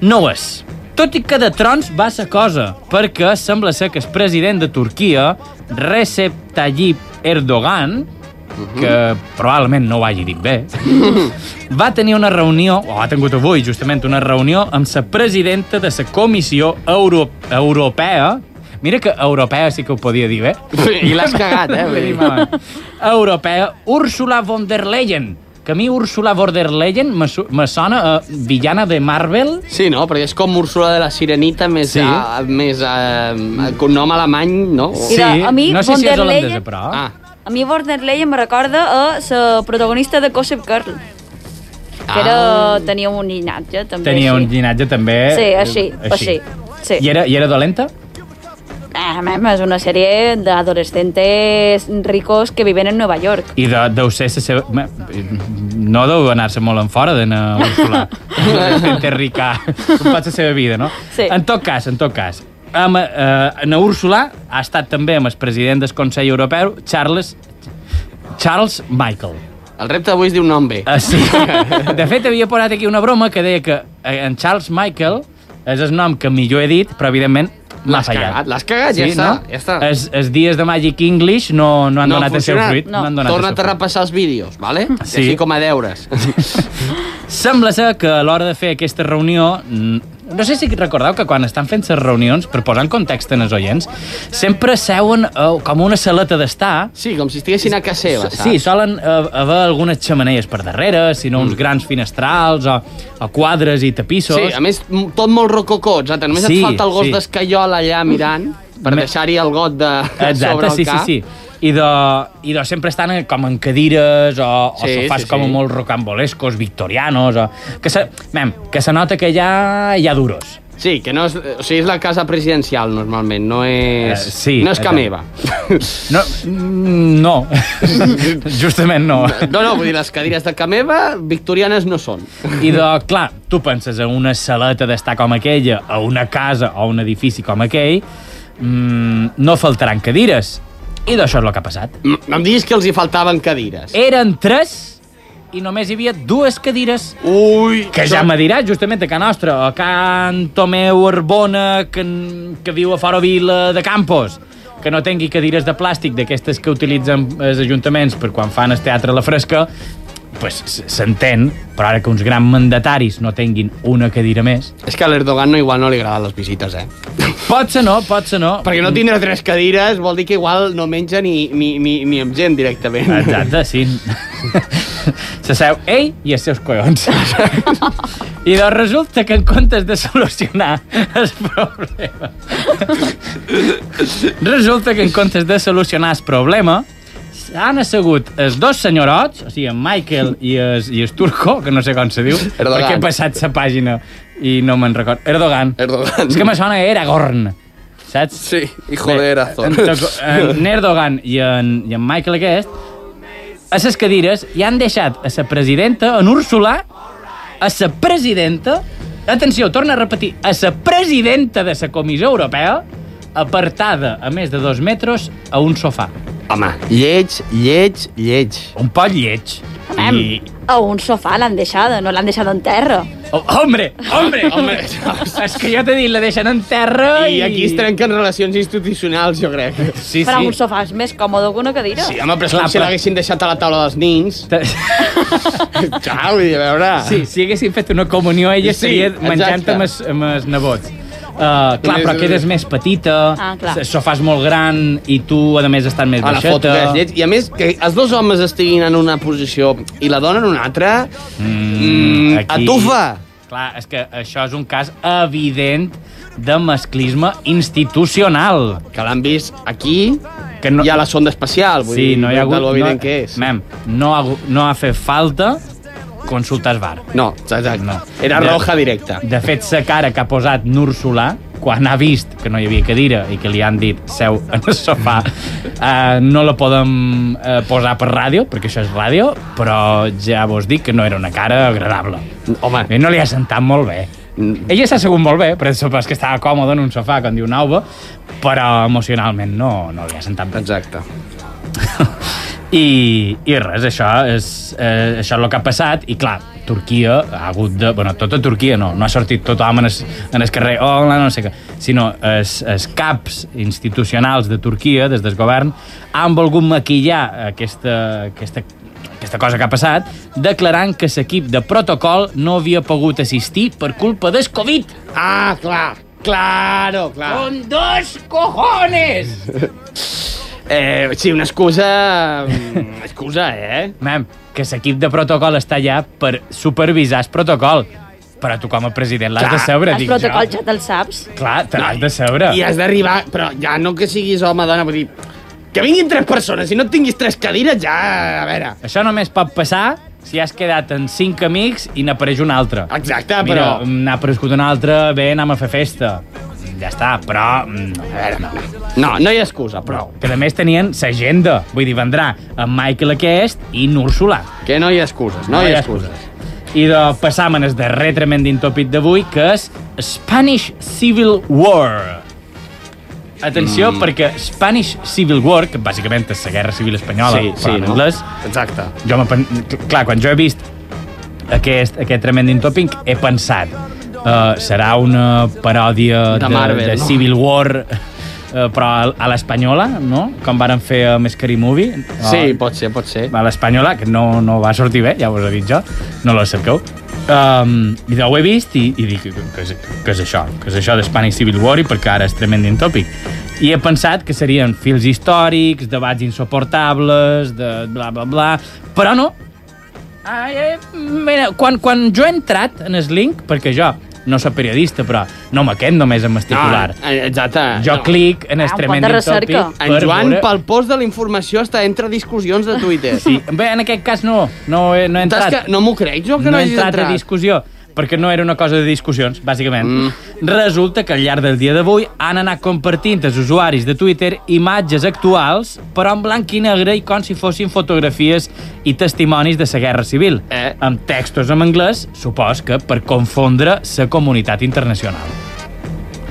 [SPEAKER 4] no ho és. Tot i que de Trons va ser cosa, perquè sembla ser que el president de Turquia, Recep Tayyip Erdogan, que probablement no ho hagi dit bé, va tenir una reunió, o ha tingut avui justament una reunió, amb la presidenta de la Comissió Euro Europea, mira que europea sí que ho podia dir bé,
[SPEAKER 5] I l'has cagat, eh? Vull dir.
[SPEAKER 4] Malament. europea, Úrsula von der Leyen. Que a mi Úrsula von der Leyen me, su- me sona a villana de Marvel.
[SPEAKER 5] Sí, no? Perquè és com Úrsula de la Sirenita més,
[SPEAKER 4] Sí.
[SPEAKER 5] sí. a, més a, con nom alemany, no?
[SPEAKER 4] Sí,
[SPEAKER 6] Mira, a mi
[SPEAKER 4] no sé
[SPEAKER 6] von
[SPEAKER 4] si és
[SPEAKER 6] der
[SPEAKER 4] holandesa,
[SPEAKER 6] Leyen-
[SPEAKER 4] però...
[SPEAKER 5] Ah,
[SPEAKER 6] A mi Warner Leyen me recorda a la protagonista de Gossip Girl. Que era, tenia un llinatge, també.
[SPEAKER 4] Ah. Tenia
[SPEAKER 6] així.
[SPEAKER 4] un llinatge també...
[SPEAKER 6] Sí, així, així. Sí.
[SPEAKER 4] I, era, I era dolenta?
[SPEAKER 6] Ah, mem, és una sèrie d'adolescentes ricos que viven en Nova York.
[SPEAKER 4] I de, deu ser... La seva... me- No deu anar-se molt en fora d'anar a Úrsula. Gente rica. Pot la seva vida, no?
[SPEAKER 6] Sí.
[SPEAKER 4] En tot cas, en tot cas. Amb, eh, na Úrsula ha estat també amb el president del Consell Europeu, Charles, Charles Michael.
[SPEAKER 5] el repte d'avui es diu nom bé.
[SPEAKER 4] Ah, sí. De fet, havia posat aquí una broma que deia que eh, en Charles Michael és el nom que millor he dit, però evidentment m'ha
[SPEAKER 5] L'has
[SPEAKER 4] fallat.
[SPEAKER 5] cagat, l'has cagat, ja està, ja està.
[SPEAKER 4] Els, els dies de Magic English no, no han
[SPEAKER 5] ha
[SPEAKER 4] donat el seu
[SPEAKER 5] funcionat.
[SPEAKER 4] fruit.
[SPEAKER 6] No.
[SPEAKER 4] han donat el seu
[SPEAKER 5] Torna't a
[SPEAKER 4] fruit.
[SPEAKER 5] repassar els vídeos, vale?
[SPEAKER 4] Sí.
[SPEAKER 5] Sí. Així com a deures.
[SPEAKER 4] Sembla ser que a l'hora de fer aquesta reunió... mm, No sé si recordeu que quan estan fent les reunions, per posar en context en els oients, sempre seuen eh, com una saleta d'estar
[SPEAKER 5] Sí, com si estiguessin a casa seva, saps?
[SPEAKER 4] Sí, solen eh, haver algunes xamaneies per darrere, si no uns grans finestrals o, o quadres i tapissos.
[SPEAKER 5] Mm. Sí, a més, m- tot molt rococó, exacte. Només
[SPEAKER 4] Sí,
[SPEAKER 5] et falta el gos
[SPEAKER 4] sí.
[SPEAKER 5] d'escaiola allà mirant per
[SPEAKER 4] Me-
[SPEAKER 5] deixar-hi el got de... sobre
[SPEAKER 4] Exacte,
[SPEAKER 5] el
[SPEAKER 4] sí, sí,
[SPEAKER 5] cap.
[SPEAKER 4] sí. I de, I de sempre estan eh, com en cadires o, o
[SPEAKER 5] Sí,
[SPEAKER 4] sí, sofàs
[SPEAKER 5] sí,
[SPEAKER 4] sí, com
[SPEAKER 5] sí.
[SPEAKER 4] molt rocambolescos, victorianos... O, que, se, mem, que se nota que hi ha, hi ha duros.
[SPEAKER 5] Sí, que no és... O sigui, és la casa presidencial, normalment. No
[SPEAKER 4] Eh,
[SPEAKER 5] és...
[SPEAKER 4] sí,
[SPEAKER 5] no és
[SPEAKER 4] exacte.
[SPEAKER 5] que meva.
[SPEAKER 4] No, mm, no. justament no.
[SPEAKER 5] No, no, vull dir, les cadires de Cameva victorianes no són.
[SPEAKER 4] I de, clar, tu penses en una saleta d'estar com aquella, a una casa o un edifici com aquell, mm, no faltaran cadires. I d'això és el que ha passat.
[SPEAKER 5] M- No em diguis que els hi faltaven cadires.
[SPEAKER 4] Eren tres i només hi havia dues cadires
[SPEAKER 5] Ui!
[SPEAKER 4] que ja me diràs, justament, a Can Nostra, a Can Tomeu Arbona, que, que viu a Faro Vila de Campos, que no tingui cadires de plàstic d'aquestes que utilitzen els ajuntaments per quan fan el teatre a la fresca, pues, s- s'entén, però ara que uns grans mandataris no tinguin una cadira més...
[SPEAKER 5] És que a l'Erdogan no, igual no li agraden les visites, eh?
[SPEAKER 4] Pot ser no, pot ser no.
[SPEAKER 5] Perquè no tindre tres cadires vol dir que igual no menja ni, ni, ni, ni amb gent directament.
[SPEAKER 4] Exacte, sí. S'asseu ell i els seus collons. I doncs resulta que en comptes de solucionar el problema... resulta que en comptes de solucionar el problema han assegut els dos senyorots, o sigui, en Michael i es, i es Turco, que no sé com se diu,
[SPEAKER 5] Erdogan.
[SPEAKER 4] perquè he passat sa pàgina i no me'n record. Erdogan.
[SPEAKER 5] Erdogan.
[SPEAKER 4] És que me sona Eragorn, saps?
[SPEAKER 5] Sí, hijo de Erazón.
[SPEAKER 4] En, Toc- en Erdogan i en, i en Michael aquest a les cadires i han deixat a la presidenta, en Úrsula, a la presidenta, atenció, torna a repetir, a la presidenta de la Comissió Europea, apartada a més de dos metres a un sofà.
[SPEAKER 5] Home, lleig, lleig, lleig.
[SPEAKER 4] Un poll lleig.
[SPEAKER 6] Mem, a un sofà l'han deixada, no l'han deixada en terra.
[SPEAKER 4] Oh, hombre, hombre, hombre. És que jo t'he dit, la deixen en terra i...
[SPEAKER 5] I aquí es trenquen relacions institucionals, jo crec.
[SPEAKER 4] Sí,
[SPEAKER 6] Però un
[SPEAKER 4] sí.
[SPEAKER 6] sofà és més còmode que una cadira.
[SPEAKER 5] Sí, home, però és
[SPEAKER 4] Clar,
[SPEAKER 5] com si
[SPEAKER 4] però-
[SPEAKER 5] l'haguessin deixat a la taula dels nins. Xau, vull dir, a veure...
[SPEAKER 4] Sí, si haguessin fet una comunió, ella sí,
[SPEAKER 5] Sí,
[SPEAKER 4] seria
[SPEAKER 5] exacte.
[SPEAKER 4] menjant amb els, amb els nebots. Uh, clar, però quedes més petita,
[SPEAKER 6] Ah, clar.
[SPEAKER 4] el sofà és molt gran i tu, a més, estàs més
[SPEAKER 5] A Ah, la foto que és
[SPEAKER 4] baixeta.
[SPEAKER 5] lleig. I a més, que els dos homes estiguin en una posició i la dona en una altra... Mm,
[SPEAKER 4] aquí-
[SPEAKER 5] Atufa!
[SPEAKER 4] Clar, és que això és un cas evident de masclisme institucional.
[SPEAKER 5] Que l'han vist aquí
[SPEAKER 4] Que no-
[SPEAKER 5] i a la sonda espacial. Vull
[SPEAKER 4] sí,
[SPEAKER 5] dir,
[SPEAKER 4] no hi ha hagut...
[SPEAKER 5] De lo evident
[SPEAKER 4] no,
[SPEAKER 5] que és.
[SPEAKER 4] Mem, no ha, hagu- no ha fet falta consultes bar.
[SPEAKER 5] No, exacte.
[SPEAKER 4] No.
[SPEAKER 5] Era
[SPEAKER 4] Ja.
[SPEAKER 5] roja directa.
[SPEAKER 4] De fet, la cara que ha posat Nur Solà, quan ha vist que no hi havia cadira i que li han dit seu en el sofà, eh, no la podem eh, posar per ràdio, perquè això és ràdio, però ja vos dic que no era una cara agradable.
[SPEAKER 5] Home,
[SPEAKER 4] I no li ha sentat molt bé. Ella s'ha segut molt bé, però és que estava còmode en un sofà, com diu Nauba, però emocionalment no, no li ha sentat bé.
[SPEAKER 5] exacte.
[SPEAKER 4] I, i res, això és, eh, això és el que ha passat i clar, Turquia ha hagut de... Bueno, tota Turquia no, no ha sortit tothom en es, en es carrer, hola, no sé què, sinó els, els caps institucionals de Turquia, des del govern, han volgut maquillar aquesta, aquesta, aquesta cosa que ha passat, declarant que l'equip de protocol no havia pogut assistir per culpa del Covid.
[SPEAKER 5] Ah, clar. Claro, claro.
[SPEAKER 4] Con dos cojones!
[SPEAKER 5] Eh, sí, una excusa... mm, excusa, eh?
[SPEAKER 4] Mem, que l'equip de protocol està allà per supervisar el protocol. Però tu com a president l'has
[SPEAKER 5] Clar.
[SPEAKER 4] de saber,
[SPEAKER 6] El
[SPEAKER 4] dic
[SPEAKER 6] protocol
[SPEAKER 4] jo.
[SPEAKER 6] ja te'l saps?
[SPEAKER 4] Clar, te l'has de saber.
[SPEAKER 5] I has d'arribar... Però ja no que siguis home, dona, vull dir... Que vinguin tres persones i no tinguis tres cadires, ja... A veure...
[SPEAKER 4] Això només pot passar si has quedat amb cinc amics i n'apareix un altre. Mira,
[SPEAKER 5] Exacte, Ah,
[SPEAKER 4] mm,
[SPEAKER 5] però...
[SPEAKER 4] n'ha aparegut un altre, bé, anem a fer festa. Ja està, però... mm,
[SPEAKER 5] A veure, no, no. No, no hi ha excusa,
[SPEAKER 4] Però,
[SPEAKER 5] prou.
[SPEAKER 4] que a més tenien l'agenda. Vull dir, vendrà en Michael aquest i Núrsula.
[SPEAKER 5] Que no hi ha excuses, no, hi ha excuses.
[SPEAKER 4] I de passar amb el darrer tremendint tòpic d'avui, que és Spanish Civil War. Atenció, mm. perquè Spanish Civil War, que bàsicament és la guerra civil espanyola,
[SPEAKER 5] Sí, sí,
[SPEAKER 4] però en
[SPEAKER 5] no?
[SPEAKER 4] anglès,
[SPEAKER 5] Exacte.
[SPEAKER 4] jo m'he pen- cl- clar, quan jo he vist aquest, aquest tremending topic he pensat uh, serà una paròdia
[SPEAKER 5] De Marvel,
[SPEAKER 4] de
[SPEAKER 5] no?
[SPEAKER 4] Civil War uh, però a- a l'espanyola, no? Com varen fer amb Scary Movie.
[SPEAKER 5] Sí, pot ser, pot ser.
[SPEAKER 4] a l'espanyola, que no, no va sortir bé, ja us he dit jo, no la cerqueu. Um, i ho he vist i, i dic, què és, què és això? Què és això d'Spanish Civil War i perquè ara és tremendin tòpic. I he pensat que serien fils històrics, debats insoportables, de bla, bla, bla, però no. Ai, eh, mira, quan, quan jo he entrat en el link, perquè jo no soc periodista, però no m'aquest només en titular.
[SPEAKER 5] No, eh, exacte.
[SPEAKER 4] jo
[SPEAKER 5] no.
[SPEAKER 4] clic en el
[SPEAKER 6] Ah, un pot de
[SPEAKER 4] tremendin tòpic.
[SPEAKER 6] recerca.
[SPEAKER 5] En Joan,
[SPEAKER 4] veure-
[SPEAKER 5] pel post de la informació, està entre discussions de Twitter.
[SPEAKER 4] Sí, bé, en aquest cas no, no, he, no he
[SPEAKER 5] Saps
[SPEAKER 4] entrat.
[SPEAKER 5] que no m'ho crec, jo, que no,
[SPEAKER 4] no he
[SPEAKER 5] hagis
[SPEAKER 4] entrat a discussió perquè no era una cosa de discussions, bàsicament. Mm. Resulta que al llarg del dia d'avui han anat compartint els usuaris de Twitter imatges actuals, però en blanc i negre i com si fossin fotografies i testimonis de la Guerra Civil,
[SPEAKER 5] Eh.
[SPEAKER 4] amb textos en anglès, supos que per confondre la comunitat internacional.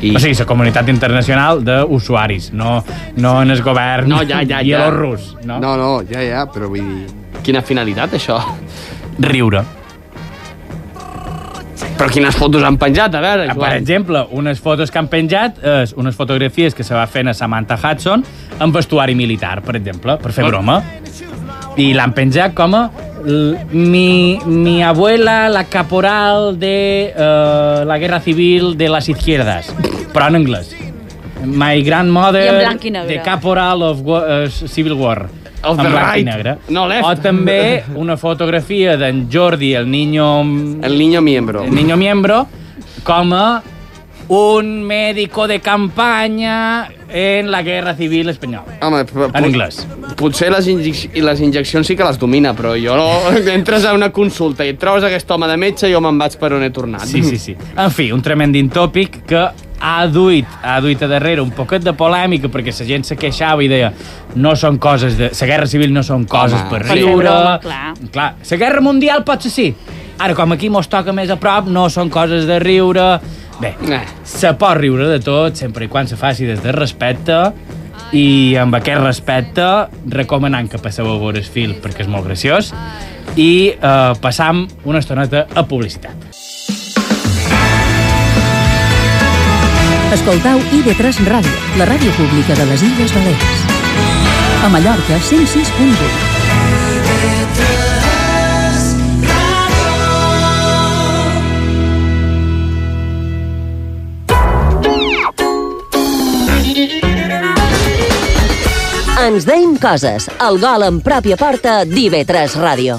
[SPEAKER 4] I... O sigui, la comunitat internacional d'usuaris, no, no en el govern
[SPEAKER 5] No, ja, ja, ja.
[SPEAKER 4] bielorrus. No?
[SPEAKER 5] No, no, ja, ja, però vull dir... Quina finalitat, això?
[SPEAKER 4] Riure.
[SPEAKER 5] Però quines fotos han penjat, a veure,
[SPEAKER 4] Ah, Per
[SPEAKER 5] Joan.
[SPEAKER 4] exemple, unes fotos que han penjat és unes fotografies que se va fent a Samantha Hudson amb vestuari militar, per exemple, per fer broma. I l'han penjat com a l- mi, mi abuela, la caporal de uh, la guerra civil de les izquierdas, però en anglès. My grandmother
[SPEAKER 6] I en blanc i negre.
[SPEAKER 4] de caporal of wa- eh, Civil War.
[SPEAKER 5] Of
[SPEAKER 4] en
[SPEAKER 5] the
[SPEAKER 4] blanc i
[SPEAKER 5] right,
[SPEAKER 4] negre.
[SPEAKER 5] no left.
[SPEAKER 4] O també una fotografia d'en Jordi, el niño
[SPEAKER 5] El niño miembro.
[SPEAKER 4] el niño miembro com a un médico de campaña en la guerra civil espanyola.
[SPEAKER 5] Home, però-
[SPEAKER 4] En
[SPEAKER 5] pot-
[SPEAKER 4] anglès.
[SPEAKER 5] Potser les, injec les injeccions sí que les domina, però jo no... Entres a una consulta i et trobes aquest home de metge i jo me'n vaig per on he tornat.
[SPEAKER 4] Sí, sí, sí. En fi, un tremendin tòpic que ha duit, ha duit a darrere un poquet de polèmica perquè la gent se queixava i deia no són coses de... La guerra civil no són coses
[SPEAKER 5] Home,
[SPEAKER 4] per
[SPEAKER 5] sí.
[SPEAKER 4] riure.
[SPEAKER 6] Clar.
[SPEAKER 4] clar. La guerra mundial potser sí. Ara, com aquí mos toca més a prop, no són coses de riure. Bé,
[SPEAKER 5] Eh.
[SPEAKER 4] se pot riure de tot, sempre i quan se faci des de respecte, i amb aquest respecte recomanant que passeu a veure el fil perquè és molt graciós i eh, passam una estoneta a publicitat.
[SPEAKER 2] Escoltau ID3 Ràdio, la ràdio pública de les Illes Balears. A Mallorca, 106.8.
[SPEAKER 3] Ens deim coses. El gol en pròpia porta d'IV3 Ràdio.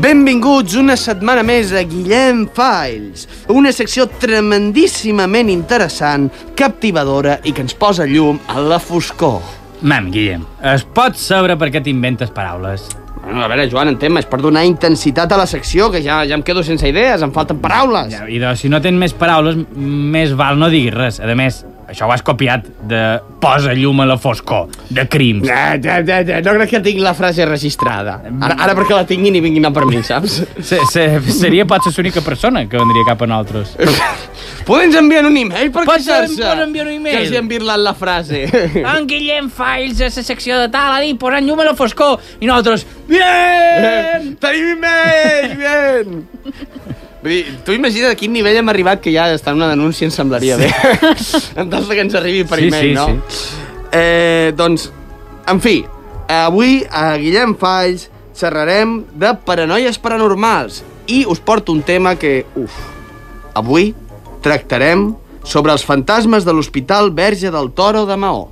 [SPEAKER 5] Benvinguts una setmana més a Guillem Files, una secció tremendíssimament interessant, captivadora i que ens posa llum a la foscor.
[SPEAKER 4] Mam, Guillem, es pot saber per què t'inventes paraules.
[SPEAKER 5] Bueno, a veure, Joan, entén-me, és per donar intensitat a la secció, que ja, ja em quedo sense idees, em falten paraules.
[SPEAKER 4] I doncs, si no tens més paraules, m- més val no diguis res. A més, això ho has copiat de posa llum a la foscor, de crims.
[SPEAKER 5] Ja, ja, ja, ja, eh, no crec que tinc la frase registrada. Ara, ara perquè la tinguin i vinguin a per mi, saps?
[SPEAKER 4] Se, se, seria potser l'única persona que vendria cap a nosaltres.
[SPEAKER 5] Podem enviar un e-mail per
[SPEAKER 4] Pots
[SPEAKER 5] queixar-se?
[SPEAKER 4] en- pots enviar un e-mail.
[SPEAKER 5] Que els hi han virlat la frase.
[SPEAKER 4] En Guillem Files, a la secció de tal, ha dit posant llum a la foscor. I nosaltres, bien!
[SPEAKER 5] Tenim e-mail, bien! Vull dir, tu imagina a quin nivell hem arribat que ja estar en una denúncia em semblaria bé. en tant que ens arribi per
[SPEAKER 4] Sí,
[SPEAKER 5] e-mail,
[SPEAKER 4] sí,
[SPEAKER 5] no? Sí. Eh, doncs, en fi, avui a Guillem Falls xerrarem de paranoies paranormals i us porto un tema que, uf, avui tractarem sobre els fantasmes de l'Hospital Verge del Toro de Maó.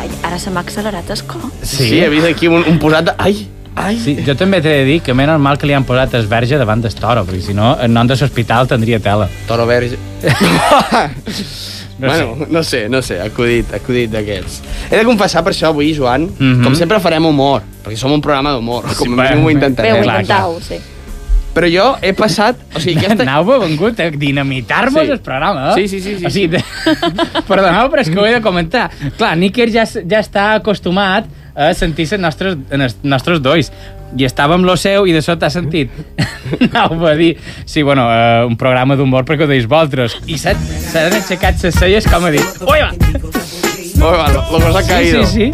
[SPEAKER 6] Ai, ara se m'ha accelerat el cor.
[SPEAKER 5] Sí, he vist aquí un, un posat de... Ai, ai.
[SPEAKER 4] Sí, jo també t'he de dir que menys mal que li han posat el verge davant del toro, perquè si no, en nom de l'hospital tindria tela.
[SPEAKER 5] Toro Verge.
[SPEAKER 4] No
[SPEAKER 5] No bueno, sé. no sé, no sé, acudit, acudit d'aquests. He de confessar per això avui, Joan,
[SPEAKER 4] Mhm.
[SPEAKER 5] com sempre farem humor, perquè som un programa d'humor, com a
[SPEAKER 4] bé,
[SPEAKER 5] mínim
[SPEAKER 4] bé.
[SPEAKER 5] ho
[SPEAKER 6] Bé,
[SPEAKER 5] intentarem.
[SPEAKER 6] ho
[SPEAKER 4] clar,
[SPEAKER 6] intentau, sí.
[SPEAKER 5] Però jo he passat... O sigui, aquesta...
[SPEAKER 4] Anau-vos vengut a dinamitar-vos
[SPEAKER 5] Sí.
[SPEAKER 4] sí. el programa, eh?
[SPEAKER 5] Sí, sí, sí, sí,
[SPEAKER 4] o sigui, de... Perdoneu, però és que ho he de comentar. Clar, Níker ja, s- ja està acostumat a sentir se nostres, en els nostres dois. I estava amb lo seu i de sota ha sentit. Anau, va dir... Sí, bueno, uh, un programa d'humor perquè ho deis vosaltres. I s'ha- s'han aixecat ses celles com a dir... Ui, va!
[SPEAKER 5] Oh, va, la, la cosa ha
[SPEAKER 4] Sí,
[SPEAKER 5] caído.
[SPEAKER 4] sí, sí.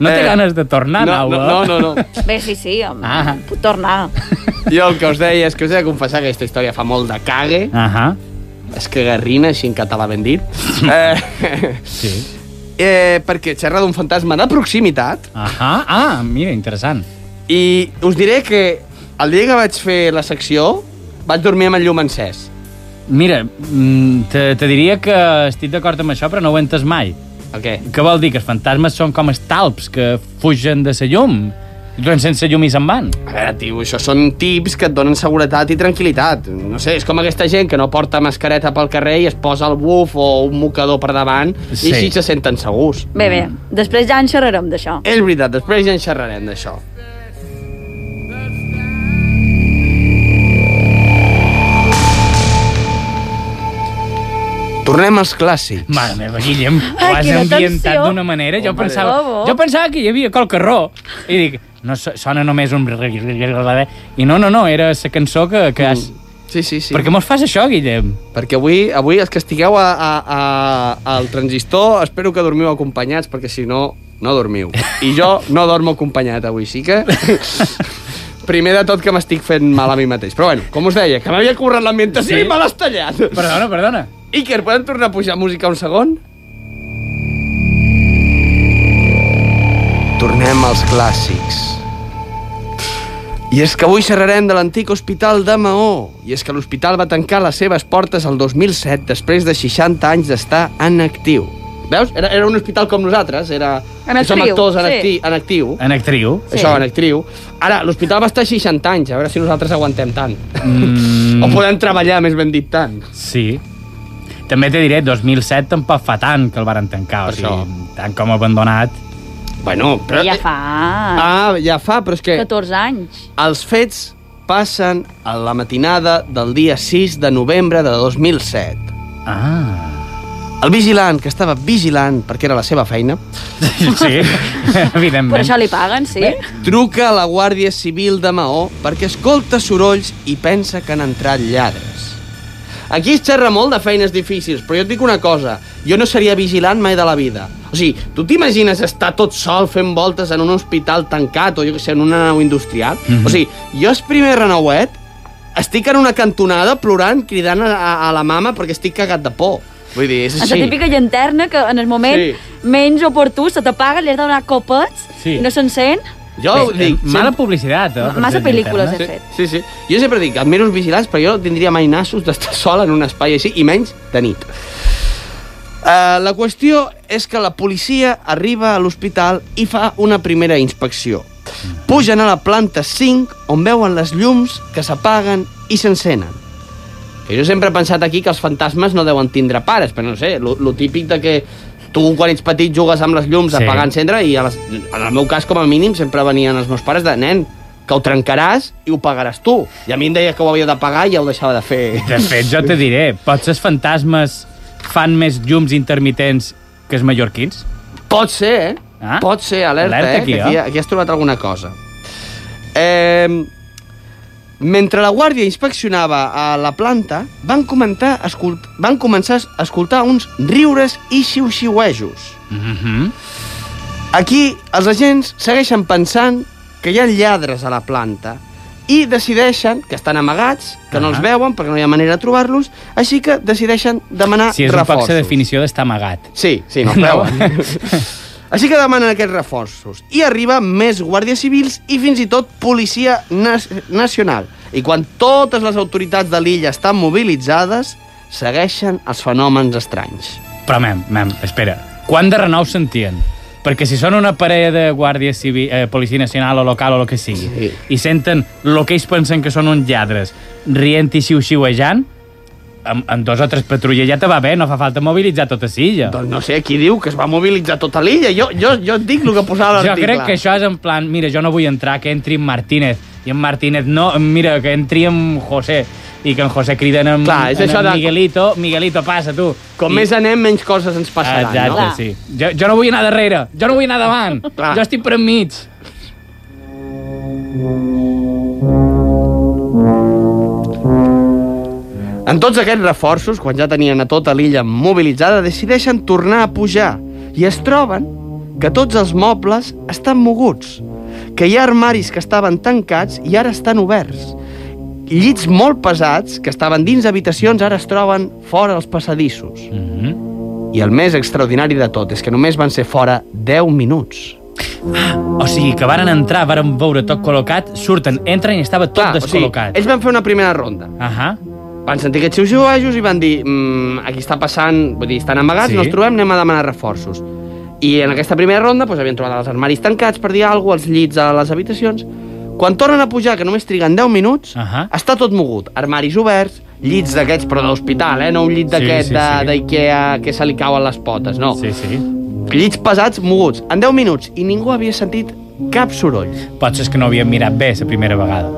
[SPEAKER 4] No té
[SPEAKER 5] Eh,
[SPEAKER 4] ganes de tornar,
[SPEAKER 5] No,
[SPEAKER 4] Nau, eh?
[SPEAKER 5] no, no, no. no.
[SPEAKER 6] Bé, sí, sí, home.
[SPEAKER 4] Ah.
[SPEAKER 6] Puc tornar.
[SPEAKER 5] Jo el que us deia és que us he de confessar que aquesta història fa molt de cague,
[SPEAKER 4] Ahà,
[SPEAKER 5] és que garrina, així en català ben dit, eh,
[SPEAKER 4] sí.
[SPEAKER 5] eh, perquè xerra d'un fantasma de proximitat,
[SPEAKER 4] Ahà, ah, mira, interessant.
[SPEAKER 5] I us diré que el dia que vaig fer la secció vaig dormir amb el llum encès.
[SPEAKER 4] Mira, mm, te, te diria que estic d'acord amb això, però no ho he entès mai.
[SPEAKER 5] El què?
[SPEAKER 4] Què vol dir? Que els fantasmes són com els talps que fugen de la llum. Doncs sense llum i se'n van.
[SPEAKER 5] A veure, tio, això són tips que et donen seguretat i tranquil·litat. No sé, és com aquesta gent que no porta mascareta pel carrer i es posa el buf o un mocador per davant sí.
[SPEAKER 4] Sí.
[SPEAKER 5] i així se senten segurs.
[SPEAKER 6] Bé, bé, després ja en xerrarem d'això.
[SPEAKER 5] És veritat, després ja en xerrarem d'això. Tornem als clàssics.
[SPEAKER 4] Mare meva, Guillem, ho
[SPEAKER 6] Ai,
[SPEAKER 4] has
[SPEAKER 6] quina
[SPEAKER 4] ambientat
[SPEAKER 6] tensió.
[SPEAKER 4] d'una manera. Jo
[SPEAKER 6] Home,
[SPEAKER 4] pensava,
[SPEAKER 6] bravo.
[SPEAKER 4] jo pensava que hi havia qualcarró. I dic, no, so- sona només un... I no, no, no, era la cançó que, que has...
[SPEAKER 5] Sí, sí, sí.
[SPEAKER 4] Per què mos fas això, Guillem?
[SPEAKER 5] Perquè avui, avui els que estigueu a, a, a, al transistor, espero que dormiu acompanyats, perquè si no, no dormiu. I jo no dormo acompanyat avui, sí que... Primer de tot que m'estic fent mal a mi mateix. Però bueno, com us deia, que m'havia currat l'ambientació sí?
[SPEAKER 4] Sí.
[SPEAKER 5] i me l'has tallat.
[SPEAKER 4] Perdona, perdona.
[SPEAKER 5] Iker, podem tornar a pujar música un segon? Tornem als clàssics. I és que avui xerrarem de l'antic hospital de Maó. I és que l'hospital va tancar les seves portes el 2007 després de 60 anys d'estar en actiu. Veus? Era, era un hospital com nosaltres, era...
[SPEAKER 6] En
[SPEAKER 5] que Som
[SPEAKER 6] actriu,
[SPEAKER 5] actors en,
[SPEAKER 6] sí.
[SPEAKER 5] acti, en actiu.
[SPEAKER 4] En actriu.
[SPEAKER 5] Sí. Això, en actriu. Ara, l'hospital va estar 60 anys, a veure si nosaltres aguantem tant. Mm. O podem treballar, més ben dit, tant.
[SPEAKER 4] Sí. També te diré, 2007 tampoc fa tant que el varen tancar, o
[SPEAKER 5] Per
[SPEAKER 4] sigui, tant com abandonat.
[SPEAKER 5] Bueno, però... eh,
[SPEAKER 6] Ja fa
[SPEAKER 5] Ah, ja fa, però és que
[SPEAKER 6] 14 anys.
[SPEAKER 5] els fets passen a la matinada del dia 6 de novembre de 2007.
[SPEAKER 4] Ah,
[SPEAKER 5] El vigilant, que estava vigilant perquè era la seva feina,
[SPEAKER 4] sí, evidentment.
[SPEAKER 6] Per això li paguen, sí?
[SPEAKER 5] truca a la Guàrdia Civil de Maó perquè escolta sorolls i pensa que han entrat lladres. Aquí es xerra molt de feines difícils, però jo et dic una cosa, jo no seria vigilant mai de la vida. O sigui, tu t'imagines estar tot sol fent voltes en un hospital tancat o jo que sé, en una nau industrial? Mm -hmm. O sigui, jo és primer renauet, estic en una cantonada plorant, cridant a, a, a la mama perquè estic cagat de por. Vull dir, és
[SPEAKER 6] És
[SPEAKER 5] així.
[SPEAKER 6] la típica llanterna que en el moment
[SPEAKER 5] Sí.
[SPEAKER 6] menys oportú se t'apaga, li has de donar copets
[SPEAKER 4] Sí.
[SPEAKER 6] i no s'encén.
[SPEAKER 5] Jo ho
[SPEAKER 4] Eh, eh,
[SPEAKER 5] dic,
[SPEAKER 4] Mala
[SPEAKER 5] sempre-
[SPEAKER 4] publicitat, eh? per
[SPEAKER 6] Massa
[SPEAKER 4] ser
[SPEAKER 6] pel·lícules
[SPEAKER 4] llanterna.
[SPEAKER 6] he
[SPEAKER 5] Sí, sí,
[SPEAKER 6] fet.
[SPEAKER 5] sí. Jo sempre dic, admiro els vigilants, però jo no tindria mai nassos d'estar sol en un espai així, i menys de nit. Uh, la qüestió és que la policia arriba a l'hospital i fa una primera inspecció. Pugen a la planta 5, on veuen les llums que s'apaguen i s'encenen. Que jo sempre he pensat aquí que els fantasmes no deuen tindre pares, però no sé, lo, lo típic de que tu quan ets petit jugues amb les llums
[SPEAKER 4] Sí.
[SPEAKER 5] sí. apagant cendre i a les, en el meu cas com a mínim sempre venien els meus pares de nen que ho trencaràs i ho pagaràs tu. I a mi em deia que ho havia de pagar i ja ho deixava de fer.
[SPEAKER 4] De fet, jo te diré, potser els fantasmes fan més llums intermitents que els mallorquins?
[SPEAKER 5] Pot ser, eh?
[SPEAKER 4] Ah.
[SPEAKER 5] Ah? Pot ser, alerta,
[SPEAKER 4] Alerta
[SPEAKER 5] eh?
[SPEAKER 4] aquí,
[SPEAKER 5] que aquí,
[SPEAKER 4] eh?
[SPEAKER 5] aquí has trobat alguna cosa. Eh, mentre la guàrdia inspeccionava a la planta, van, comentar, escol- van començar a escoltar uns riures i xiu-xiuejos.
[SPEAKER 4] Mhm. Mm
[SPEAKER 5] Aquí els agents segueixen pensant que hi ha lladres a la planta i decideixen que estan amagats, que no els
[SPEAKER 4] Ah.
[SPEAKER 5] veuen perquè no hi ha manera de trobar-los, així que decideixen demanar
[SPEAKER 4] si és un poc
[SPEAKER 5] Ah, reforços.
[SPEAKER 4] la definició d'estar amagat.
[SPEAKER 5] Sí, sí, no,
[SPEAKER 4] No.
[SPEAKER 5] no. Així que demanen aquests reforços. I arriba més guàrdies civils i fins i tot policia nas nacional. I quan totes les autoritats de l'illa estan mobilitzades, segueixen els fenòmens estranys.
[SPEAKER 4] Però, mem, mem, espera. Quan de renou sentien? Perquè si són una parella de Guàrdia Civil, eh, Policia Nacional o local o el que sigui, sí.
[SPEAKER 5] Sí.
[SPEAKER 4] i senten el que ells pensen que són uns lladres, rient i xiu-xiuejant, amb, amb dos o tres patrulles ja te va bé, no fa falta mobilitzar tota silla.
[SPEAKER 5] Doncs no sé qui diu que es va mobilitzar tota l'illa. Jo, jo, jo et dic el que posava
[SPEAKER 4] Jo
[SPEAKER 5] l'article.
[SPEAKER 4] crec que això és en plan, mira, jo no vull entrar, que entri en Martínez. I en Martínez no, mira, que entri en José. I que en José criden en,
[SPEAKER 5] Clar, és
[SPEAKER 4] en,
[SPEAKER 5] això
[SPEAKER 4] en
[SPEAKER 5] de-
[SPEAKER 4] Miguelito. Miguelito, passa, tu. I-
[SPEAKER 5] Com
[SPEAKER 4] Ah,
[SPEAKER 5] més anem, menys coses ens passaran,
[SPEAKER 4] Exacte,
[SPEAKER 5] no?
[SPEAKER 6] Clar.
[SPEAKER 4] sí. Jo, jo no vull anar darrere, jo no vull anar davant,
[SPEAKER 5] Clar.
[SPEAKER 4] jo estic per enmig.
[SPEAKER 5] En tots aquests reforços, quan ja tenien a tota l'illa mobilitzada, decideixen tornar a pujar i es troben que tots els mobles estan moguts, que hi ha armaris que estaven tancats i ara estan oberts, llits molt pesats que estaven dins habitacions ara es troben fora als passadissos. Mm -hmm. I el més extraordinari de tot és que només van ser fora 10 minuts.
[SPEAKER 4] O sigui, que varen entrar, varen veure tot col·locat, surten, entren i estava tot
[SPEAKER 5] o sigui,
[SPEAKER 4] descol·locat.
[SPEAKER 5] ells van fer una primera ronda.
[SPEAKER 4] Ahà.
[SPEAKER 5] Van sentir aquests seus juajos i van dir mmm, aquí està passant, vull dir, estan amagats,
[SPEAKER 4] Sí.
[SPEAKER 5] sí. no els trobem, anem a demanar reforços. I en aquesta primera ronda doncs, havien trobat els armaris tancats per dir alguna cosa, els llits a les habitacions. Quan tornen a pujar, que només triguen 10 minuts,
[SPEAKER 4] Ahà.
[SPEAKER 5] està tot mogut. Armaris oberts, llits d'aquests, però d'hospital, eh? no un llit
[SPEAKER 4] Sí,
[SPEAKER 5] d'aquest
[SPEAKER 4] sí,
[SPEAKER 5] de-
[SPEAKER 4] sí.
[SPEAKER 5] d'Ikea que se li cauen les potes, no.
[SPEAKER 4] Sí, sí.
[SPEAKER 5] Llits pesats, moguts, en 10 minuts, i ningú havia sentit cap soroll.
[SPEAKER 4] Potser és que no havien mirat bé la primera vegada.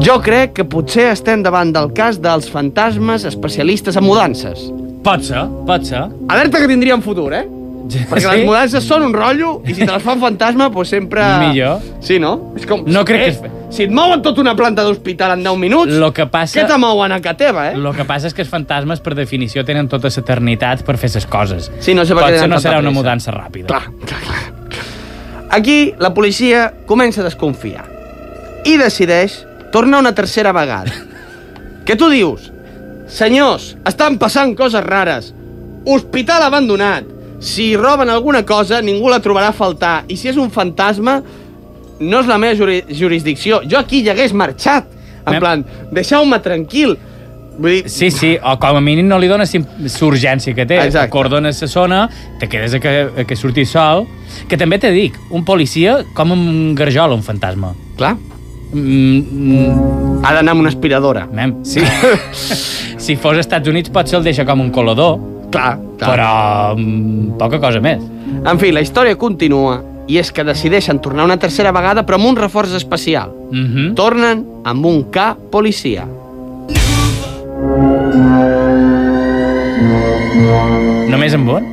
[SPEAKER 5] Jo crec que potser estem davant del cas dels fantasmes especialistes en mudances.
[SPEAKER 4] Pot ser, pot ser.
[SPEAKER 5] Alerta que tindríem futur, eh? Perquè les mudances són un rotllo i si te les fa un fantasma, doncs sempre...
[SPEAKER 4] Millor.
[SPEAKER 5] Sí, no? És com...
[SPEAKER 4] No crec que es-
[SPEAKER 5] Si et mouen tota una planta d'hospital en 10 minuts,
[SPEAKER 4] Lo que passa-
[SPEAKER 5] què te mouen a casa teva, eh?
[SPEAKER 4] El que passa és que els fantasmes, per definició, tenen tota l'eternitat per fer les coses.
[SPEAKER 5] Sí, no sé per què
[SPEAKER 4] Potser
[SPEAKER 5] tenen
[SPEAKER 4] no
[SPEAKER 5] tanta
[SPEAKER 4] serà una
[SPEAKER 5] pressa.
[SPEAKER 4] mudança ràpida.
[SPEAKER 5] Clar, clar, clar. Aquí la policia comença a desconfiar i decideix tornar una tercera vegada. Què tu dius? Senyors, estan passant coses rares. Hospital abandonat. Si roben alguna cosa, ningú la trobarà a faltar. I si és un fantasma, no és la meva juri jurisdicció. Jo aquí ja hagués marxat. En
[SPEAKER 4] Mem-
[SPEAKER 5] plan, deixeu-me tranquil. Vull dir,
[SPEAKER 4] Sí, sí, o com a mínim no li dones sim- l'urgència que té.
[SPEAKER 5] Ah, Exacte.
[SPEAKER 4] Cordones la zona, te quedes a que, a que surti sol. Que també te dic, un policia com un garjol, un fantasma.
[SPEAKER 5] clar,
[SPEAKER 4] Mm, mm,
[SPEAKER 5] ha d'anar amb una aspiradora.
[SPEAKER 4] mem, sí. si fos als Estats Units potser el deixa com un colador,
[SPEAKER 5] Clar, clar.
[SPEAKER 4] però mm, poca cosa més.
[SPEAKER 5] En fi, la història continua i és que decideixen tornar una tercera vegada però amb un reforç especial.
[SPEAKER 4] Mhm.
[SPEAKER 5] Tornen amb un K policia.
[SPEAKER 4] Només amb un?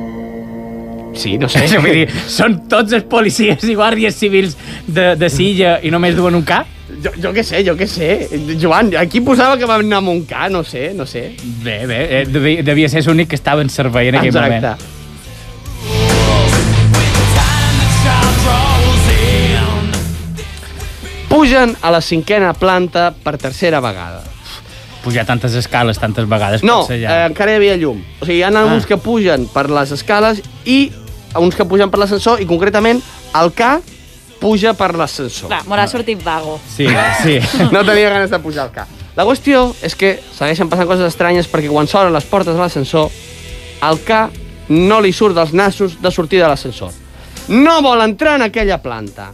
[SPEAKER 5] Sí, no sé.
[SPEAKER 4] Sí, vull dir, són tots els policies i guàrdies civils de, de Silla i només duen un cap?
[SPEAKER 5] Jo, jo què sé, jo què sé. Joan, aquí posava que vam anar amb un K, no sé, no sé.
[SPEAKER 4] Bé, bé, eh, devia, devia ser l'únic que estava en servei en aquell moment.
[SPEAKER 5] Exacte. Pugen a la cinquena planta per tercera vegada.
[SPEAKER 4] pujar tantes escales tantes vegades
[SPEAKER 5] No,
[SPEAKER 4] potser
[SPEAKER 5] eh,
[SPEAKER 4] ja.
[SPEAKER 5] encara hi havia llum. O sigui, hi ha ah. uns que pugen per les escales i uns que pugen per l'ascensor i concretament el K puja per l'ascensor.
[SPEAKER 6] Clar, me l'ha sortit vago.
[SPEAKER 4] Sí, sí.
[SPEAKER 5] No tenia ganes de pujar el K. La qüestió és que segueixen passant coses estranyes perquè quan s'obren les portes de l'ascensor el K No li surt dels nassos de sortir de l'ascensor. No vol entrar en aquella planta.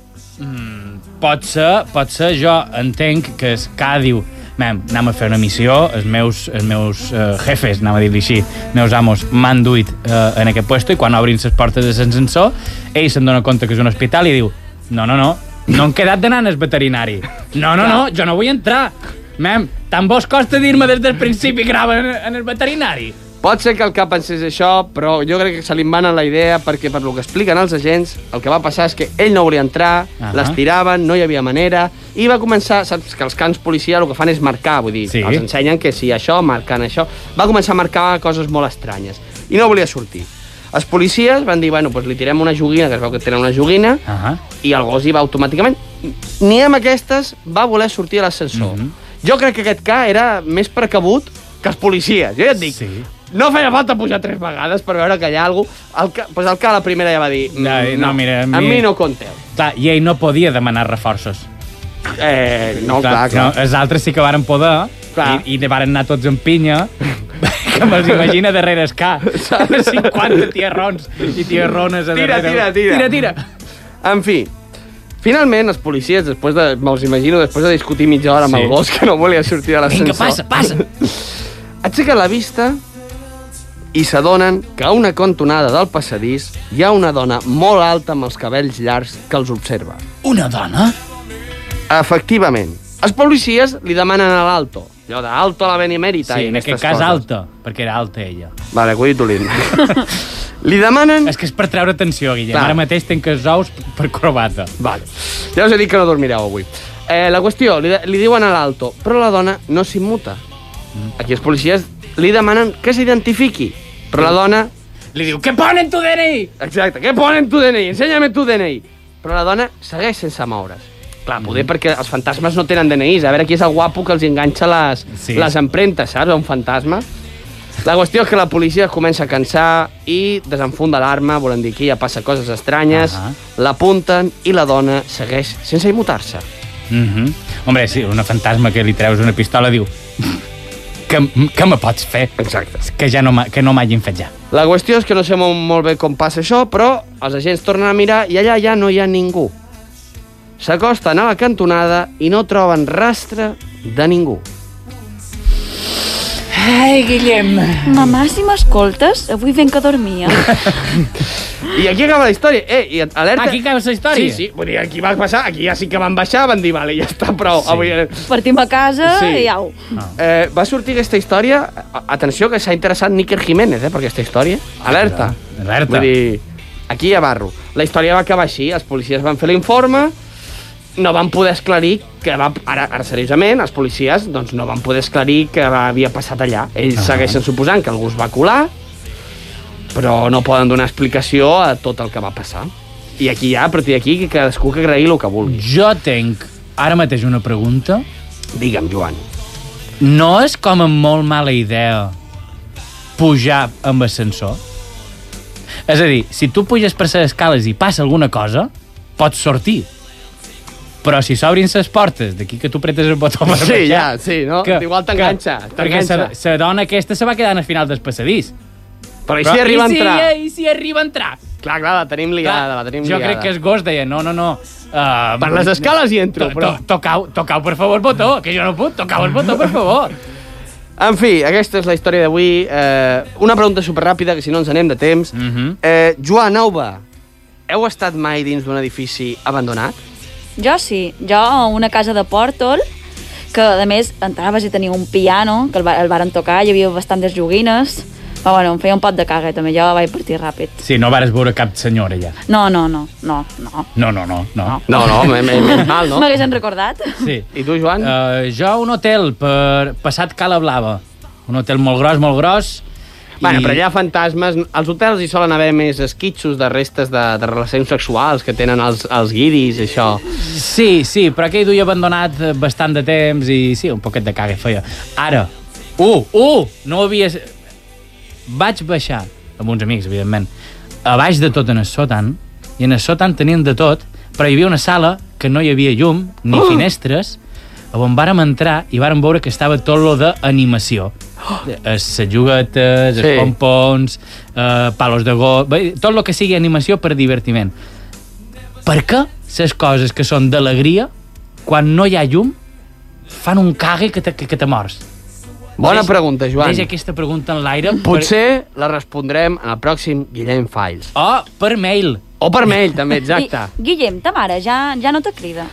[SPEAKER 4] Pot ser, pot ser, jo entenc que és cada diu Mem, anem a fer una missió, els meus, els meus eh, jefes, anem a dir-li així, els meus amos m'han duit eh, en aquest puesto i quan obrin les portes de l'ascensor, ell se'n dona compte que és un hospital i diu no, no, no, no han quedat d'anar al veterinari. No, no, no, jo no vull entrar. Mem, tant vos costa dir-me des del principi que anava en, en el veterinari?
[SPEAKER 5] Pot ser que el cap pensés això, però jo crec que se li mana la idea perquè per lo que expliquen els agents, el que va passar és que ell no volia entrar, uh
[SPEAKER 4] Ahà.
[SPEAKER 5] -huh. l'estiraven, no hi havia manera, i va començar, saps que els cans policia el que fan és marcar, vull dir,
[SPEAKER 4] Sí.
[SPEAKER 5] sí. els ensenyen que si això, marcant això, va començar a marcar coses molt estranyes, i no volia sortir. Els policies van dir, bueno, doncs li tirem una joguina, que es veu que tenen una joguina, uh
[SPEAKER 4] Ahà.
[SPEAKER 5] i el gos hi va automàticament. Ni amb aquestes va voler sortir a l'ascensor.
[SPEAKER 4] Mhm.
[SPEAKER 5] Mm -hmm. Jo crec que aquest cas era més precabut que els policies, jo ja et dic.
[SPEAKER 4] Sí.
[SPEAKER 5] No feia falta pujar tres vegades per veure que hi ha alguna cosa. El ca, pues el ca a la primera ja va dir... "Mm,
[SPEAKER 4] Ai, no, mira, a mi-
[SPEAKER 5] A mi no compteu.
[SPEAKER 4] Clar, i ell no podia demanar reforços.
[SPEAKER 5] Eh, no, clar, clar. clar.
[SPEAKER 4] No, els altres sí que varen poder
[SPEAKER 5] Clar.
[SPEAKER 4] i, i varen anar tots en pinya que me'ls imagina darrere el ca. 50 tierrons i tierrones a
[SPEAKER 5] Tira,
[SPEAKER 4] darrere.
[SPEAKER 5] tira, tira.
[SPEAKER 4] Tira, tira.
[SPEAKER 5] En fi, finalment els policies, després de, me'ls imagino, després de discutir mitja hora amb
[SPEAKER 4] Sí.
[SPEAKER 5] el gos que no volia sortir de l'ascensor...
[SPEAKER 4] Vinga, passa, passa.
[SPEAKER 5] Aixequen la vista i s'adonen que a una contonada del passadís hi ha una dona molt alta amb els cabells llargs que els observa.
[SPEAKER 4] Una dona?
[SPEAKER 5] Efectivament, els policies li demanen a l'alto, allò d'alto a la benemèrita
[SPEAKER 4] Sí,
[SPEAKER 5] i
[SPEAKER 4] en aquest
[SPEAKER 5] aquestes
[SPEAKER 4] cas
[SPEAKER 5] coses.
[SPEAKER 4] alta, perquè era alta ella.
[SPEAKER 5] Vale, cuiditolín. li demanen...
[SPEAKER 4] És que és per treure atenció, Guillem.
[SPEAKER 5] Clar.
[SPEAKER 4] Ara mateix tenc els ous per corbata.
[SPEAKER 5] Vale. Ja us he dit que no dormireu avui. Eh, la qüestió, li, li diuen a l'alto, però la dona no s'immuta.
[SPEAKER 4] Mm.
[SPEAKER 5] Aquí els policies li demanen que s'identifiqui, però la dona
[SPEAKER 4] Li diu, què ponen tu, DNI?
[SPEAKER 5] Exacte, què ponen tu DNI? Ensenya'm tu DNI. Però la dona segueix sense moure's. Clar, poder perquè els fantasmes no tenen DNIs. A veure qui és el guapo que els enganxa les,
[SPEAKER 4] Sí.
[SPEAKER 5] sí. les empremtes, saps? A un fantasma. La qüestió és que la policia es comença a cansar i desenfunda l'arma, volen dir que ja passa coses estranyes,
[SPEAKER 4] Ahà.
[SPEAKER 5] l'apunten i la dona segueix sense immutar-se.
[SPEAKER 4] Mhm. Hombre, sí, una fantasma que li treus una pistola diu... Que, que me pots fer?
[SPEAKER 5] Exacte.
[SPEAKER 4] Que ja no m'ha- que no m'hagin fet ja.
[SPEAKER 5] La qüestió és que no sé molt, molt bé com passa això, però els agents tornen a mirar i allà ja no hi ha ningú. S'acosten a la cantonada i no troben rastre de ningú.
[SPEAKER 4] Ai, Guillem.
[SPEAKER 6] Mamà, si m'escoltes, avui venc a dormir, eh?
[SPEAKER 5] I aquí acaba la història. Eh, i alerta...
[SPEAKER 4] Aquí acaba la història?
[SPEAKER 5] Sí, sí. Vull dir, aquí va passar, aquí ja sí que van baixar, van dir, vale, ja està, prou.
[SPEAKER 4] Sí.
[SPEAKER 5] Sí. Avui... eh,
[SPEAKER 6] Partim a casa
[SPEAKER 5] Sí.
[SPEAKER 6] sí. i au.
[SPEAKER 5] Eh, va sortir aquesta història... a- Atenció, que s'ha interessat Níker Jiménez, eh, per aquesta història. Alerta.
[SPEAKER 4] Ah, Alerta.
[SPEAKER 5] Vull dir, aquí ja barro. La història va acabar així, els policies van fer l'informe, no van poder esclarir que va... Ara, ara seriosament, els policies doncs, no van poder esclarir que havia passat allà. Ells
[SPEAKER 4] Ah.
[SPEAKER 5] segueixen suposant que algú es va colar, però no poden donar explicació a tot el que va passar. I aquí ja, a partir d'aquí, que cadascú que creï el que vulgui.
[SPEAKER 4] Jo tenc ara mateix una pregunta.
[SPEAKER 5] Digue'm, Joan.
[SPEAKER 4] No és com a molt mala idea pujar amb ascensor? És a dir, si tu puges per les escales i passa alguna cosa, pots sortir. Però si s'obrin les portes, d'aquí que tu pretes el botó per
[SPEAKER 5] Sí,
[SPEAKER 4] baixar,
[SPEAKER 5] ja, sí, no? Igual t'enganxa,
[SPEAKER 4] que- Perquè
[SPEAKER 5] t'enganxa.
[SPEAKER 4] se- se dona aquesta se va quedar al final del passadís.
[SPEAKER 5] Però i si arriba a entrar?
[SPEAKER 4] I si, i si arriba a entrar?
[SPEAKER 5] Clar, clar, la tenim liada, la tenim
[SPEAKER 4] jo
[SPEAKER 5] liada.
[SPEAKER 4] crec que el gos deia, no, no, no. Uh,
[SPEAKER 5] Per les escales hi entro, però...
[SPEAKER 4] Tocau, tocau, per favor, botó, que jo no puc. Tocau el botó, per favor.
[SPEAKER 5] En fi, aquesta és la història d'avui. Eh, una pregunta superràpida, que si no ens anem de temps.
[SPEAKER 4] Mhm.
[SPEAKER 5] eh, Joan Auba, heu estat mai dins d'un edifici abandonat?
[SPEAKER 6] Jo sí, jo a una casa de Portol, que a més entraves i tenia un piano, que el, va, el varen tocar, hi havia bastantes joguines, però bueno, em feia un pot de caga i també, jo vaig partir ràpid.
[SPEAKER 4] Sí, no vares veure cap senyora allà.
[SPEAKER 6] No, no, no, no, no.
[SPEAKER 4] No, no, no. no.
[SPEAKER 5] No, no, me- me- menys mal, no?
[SPEAKER 6] M'haguessin recordat.
[SPEAKER 4] Sí.
[SPEAKER 5] I tu, Joan? Uh,
[SPEAKER 4] Uh, jo un hotel per passat Cala Blava. Un hotel molt gros, molt gros.
[SPEAKER 5] bueno,
[SPEAKER 4] i-
[SPEAKER 5] però hi ha fantasmes. Als hotels hi solen haver més esquitxos de restes de, de relacions sexuals que tenen els, els guiris, això.
[SPEAKER 4] Sí, sí, però aquell duia abandonat eh, bastant de temps i sí, un poquet de caga feia. Ara, uh, uh, no ho havia... Vaig baixar, amb uns amics, evidentment, a baix de tot en el sotan, i en el sotan tenien de tot, però hi havia una sala que no hi havia llum, ni finestres, a on vàrem entrar i vàrem veure que estava tot lo d'animació. Les juguetes, els
[SPEAKER 5] Sí.
[SPEAKER 4] pompons, eh, palos de go... Bé, tot el que sigui animació per divertiment. Per què les coses que són d'alegria, quan no hi ha llum, fan un cague que te, que, que te mors?
[SPEAKER 5] Bona
[SPEAKER 4] Deix-
[SPEAKER 5] pregunta, Joan.
[SPEAKER 4] Deix aquesta pregunta en l'aire. per-
[SPEAKER 5] Potser la respondrem en el pròxim Guillem Files.
[SPEAKER 4] O Oh, per mail.
[SPEAKER 5] O per mail, també, exacte.
[SPEAKER 6] I, Guillem, ta mare ja, ja no te crida.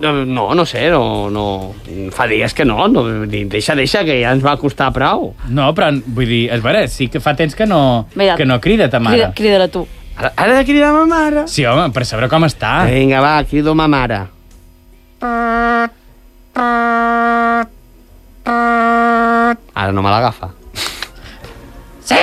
[SPEAKER 5] No, no, no sé, no, no... Fa dies que no, no deixa, deixa, que ja ens va costar prou.
[SPEAKER 4] No, però vull dir, és vera, sí que fa temps que no,
[SPEAKER 6] Mira,
[SPEAKER 4] que no crida ta mare.
[SPEAKER 6] Crida, crida-la tu.
[SPEAKER 5] Ara, ara he de cridar ma mare.
[SPEAKER 4] Sí, home, per saber com està.
[SPEAKER 5] Vinga, va, crido ma mare. Ara no me l'agafa.
[SPEAKER 4] Sí?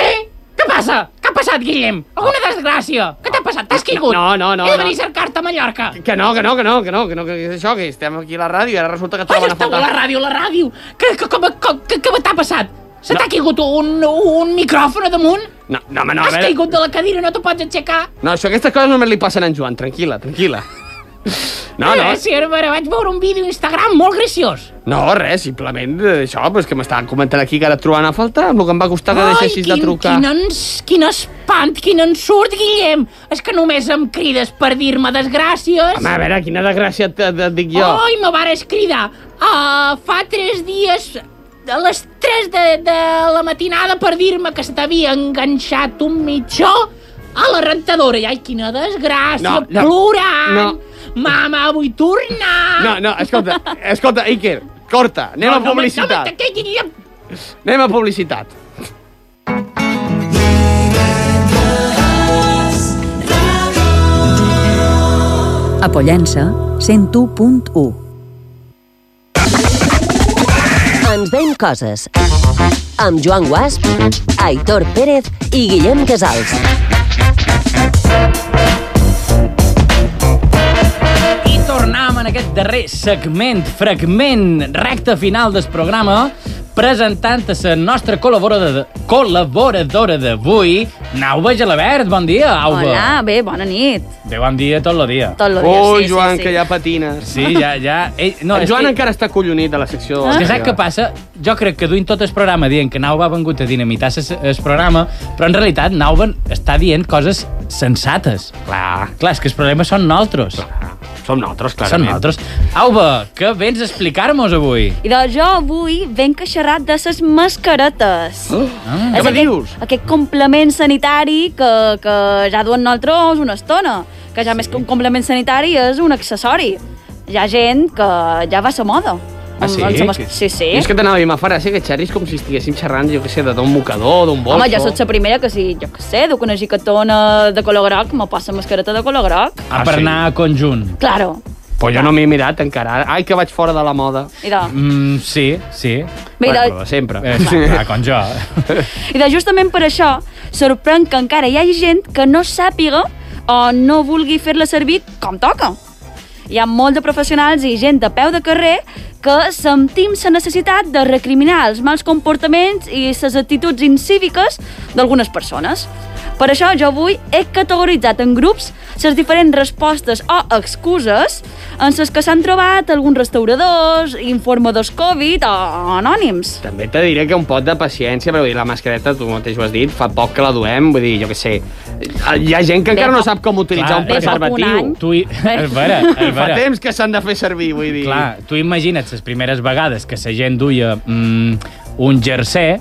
[SPEAKER 4] Què passa? Què ha passat, Guillem? Alguna desgràcia? Què t'ha passat? T'has caigut?
[SPEAKER 5] Oh. No, no, no,
[SPEAKER 4] He de
[SPEAKER 5] no.
[SPEAKER 4] venir a cercar-te a Mallorca.
[SPEAKER 5] Que no, que no, que no, que no, que no, que és això, que estem aquí a la ràdio i ara resulta que
[SPEAKER 4] Vaja,
[SPEAKER 5] troben a
[SPEAKER 4] esteu a
[SPEAKER 5] faltar...
[SPEAKER 4] la ràdio, la ràdio. Què que, com, com, que, que t'ha passat? Se t'ha caigut un, un micròfon a damunt?
[SPEAKER 5] No, no, home, no, a
[SPEAKER 4] Has
[SPEAKER 5] veure...
[SPEAKER 4] caigut de la cadira, no te pots aixecar?
[SPEAKER 5] No, això, aquestes coses només li passen a en Joan, tranquil·la, tranquil·la. No, no,
[SPEAKER 4] Eh, sí, era, vera, vaig veure un vídeo a Instagram molt graciós.
[SPEAKER 5] no, res, simplement eh, això, però és que m'estaven comentant aquí que ara trobaran a faltar, amb el que em va costar que deixessis
[SPEAKER 4] quin,
[SPEAKER 5] de trucar.
[SPEAKER 4] Quin, ens, quin espant, quin ensurt, Guillem! És que només em crides per dir-me desgràcies.
[SPEAKER 5] Home, a veure, quina desgràcia et, et, et dic jo.
[SPEAKER 4] Ai, me vares cridar. Uh, fa tres dies a les 3 de, de la matinada per dir-me que se t'havia enganxat un mitjó a la rentadora. I, ai, quina desgràcia,
[SPEAKER 5] No, no,
[SPEAKER 4] plorant.
[SPEAKER 5] no.
[SPEAKER 4] Mama, vull tornar.
[SPEAKER 5] No, no, escolta, escolta, Iker, corta, anem no, a publicitat.
[SPEAKER 4] No, no, no, Guillem,
[SPEAKER 5] anem a publicitat.
[SPEAKER 2] A Pollença, 101.1.
[SPEAKER 3] Ens veiem coses. Amb Joan Guasp, Aitor Pérez i Guillem Casals.
[SPEAKER 4] I tornam en aquest darrer segment, fragment, recte final del programa, presentant a la nostra col·laboradora, col·laboradora d'avui, Nauva Gelabert. Bon dia, Auba.
[SPEAKER 6] Hola, bé, bona nit.
[SPEAKER 4] Bé, bon dia tot el dia.
[SPEAKER 6] Tot lo dia,
[SPEAKER 5] Ui,
[SPEAKER 6] sí,
[SPEAKER 5] Joan,
[SPEAKER 6] sí, sí.
[SPEAKER 5] que ja patines.
[SPEAKER 4] Sí, ja, ja... Ell, no,
[SPEAKER 5] en
[SPEAKER 4] és
[SPEAKER 5] Joan
[SPEAKER 4] que,
[SPEAKER 5] encara està collonit a la secció...
[SPEAKER 4] És que
[SPEAKER 5] de
[SPEAKER 4] saps què passa? Jo crec que duim tot el programa dient que Nauva ha vengut a dinamitar el programa, però en realitat Nauva està dient coses sensates.
[SPEAKER 5] Clar,
[SPEAKER 4] Clar, és que els problemes són nosaltres.
[SPEAKER 5] som nosaltres,
[SPEAKER 4] Són
[SPEAKER 5] clarament.
[SPEAKER 4] nosaltres. Auba, què vens a explicar-nos avui?
[SPEAKER 6] I doncs jo avui ben queixarrat de ses mascaretes. Oh,
[SPEAKER 4] Ah.
[SPEAKER 5] Què me dius?
[SPEAKER 6] Aquest complement sanitari que, que ja duen nosaltres una estona, que ja sí. més que un complement sanitari és un accessori. Hi ha gent que ja va a moda.
[SPEAKER 5] Ah, sí?
[SPEAKER 6] Amb- amb sa mas- Sí, sí.
[SPEAKER 5] I és que t'anava a dir, ma farà ser que xerris com si estiguéssim xerrant, jo què sé, de d'un mocador, d'un bolso...
[SPEAKER 6] Home, jo soc la primera que si, jo què sé, duc una gicatona de color groc, me passa mascareta de color groc.
[SPEAKER 4] Ah,
[SPEAKER 5] Ah,
[SPEAKER 4] per
[SPEAKER 5] sí?
[SPEAKER 4] anar a conjunt.
[SPEAKER 6] Claro.
[SPEAKER 5] Però jo no m'he mirat encara. Ai, que vaig fora de la moda.
[SPEAKER 6] I de,
[SPEAKER 4] Mm, sí, sí.
[SPEAKER 6] Mira,
[SPEAKER 5] bueno, de sempre.
[SPEAKER 4] Eh, clar, com jo.
[SPEAKER 6] I de justament per això sorprèn que encara hi hagi gent que no sàpiga o no vulgui fer-la servir com toca. Hi ha molt de professionals i gent de peu de carrer que sentim la necessitat de recriminar els mals comportaments i les actituds incíviques d'algunes persones. Per això jo avui he categoritzat en grups les diferents respostes o excuses en les que s'han trobat alguns restauradors, informadors Covid o anònims.
[SPEAKER 5] També te diré que un pot de paciència, però vull dir, la mascareta, tu mateix ho has dit, fa poc que la duem, vull dir, jo què sé. Hi ha gent que
[SPEAKER 6] Bé,
[SPEAKER 5] encara no
[SPEAKER 6] fa-
[SPEAKER 5] sap com
[SPEAKER 4] clar,
[SPEAKER 5] utilitzar un
[SPEAKER 4] bé, fa
[SPEAKER 6] un
[SPEAKER 5] preservatiu.
[SPEAKER 6] any.
[SPEAKER 4] Tu i... És vera, és
[SPEAKER 5] Fa
[SPEAKER 4] vera.
[SPEAKER 5] temps que s'han de fer servir, vull dir.
[SPEAKER 4] Clar, tu imagina't les primeres vegades que la gent duia mm, un jersey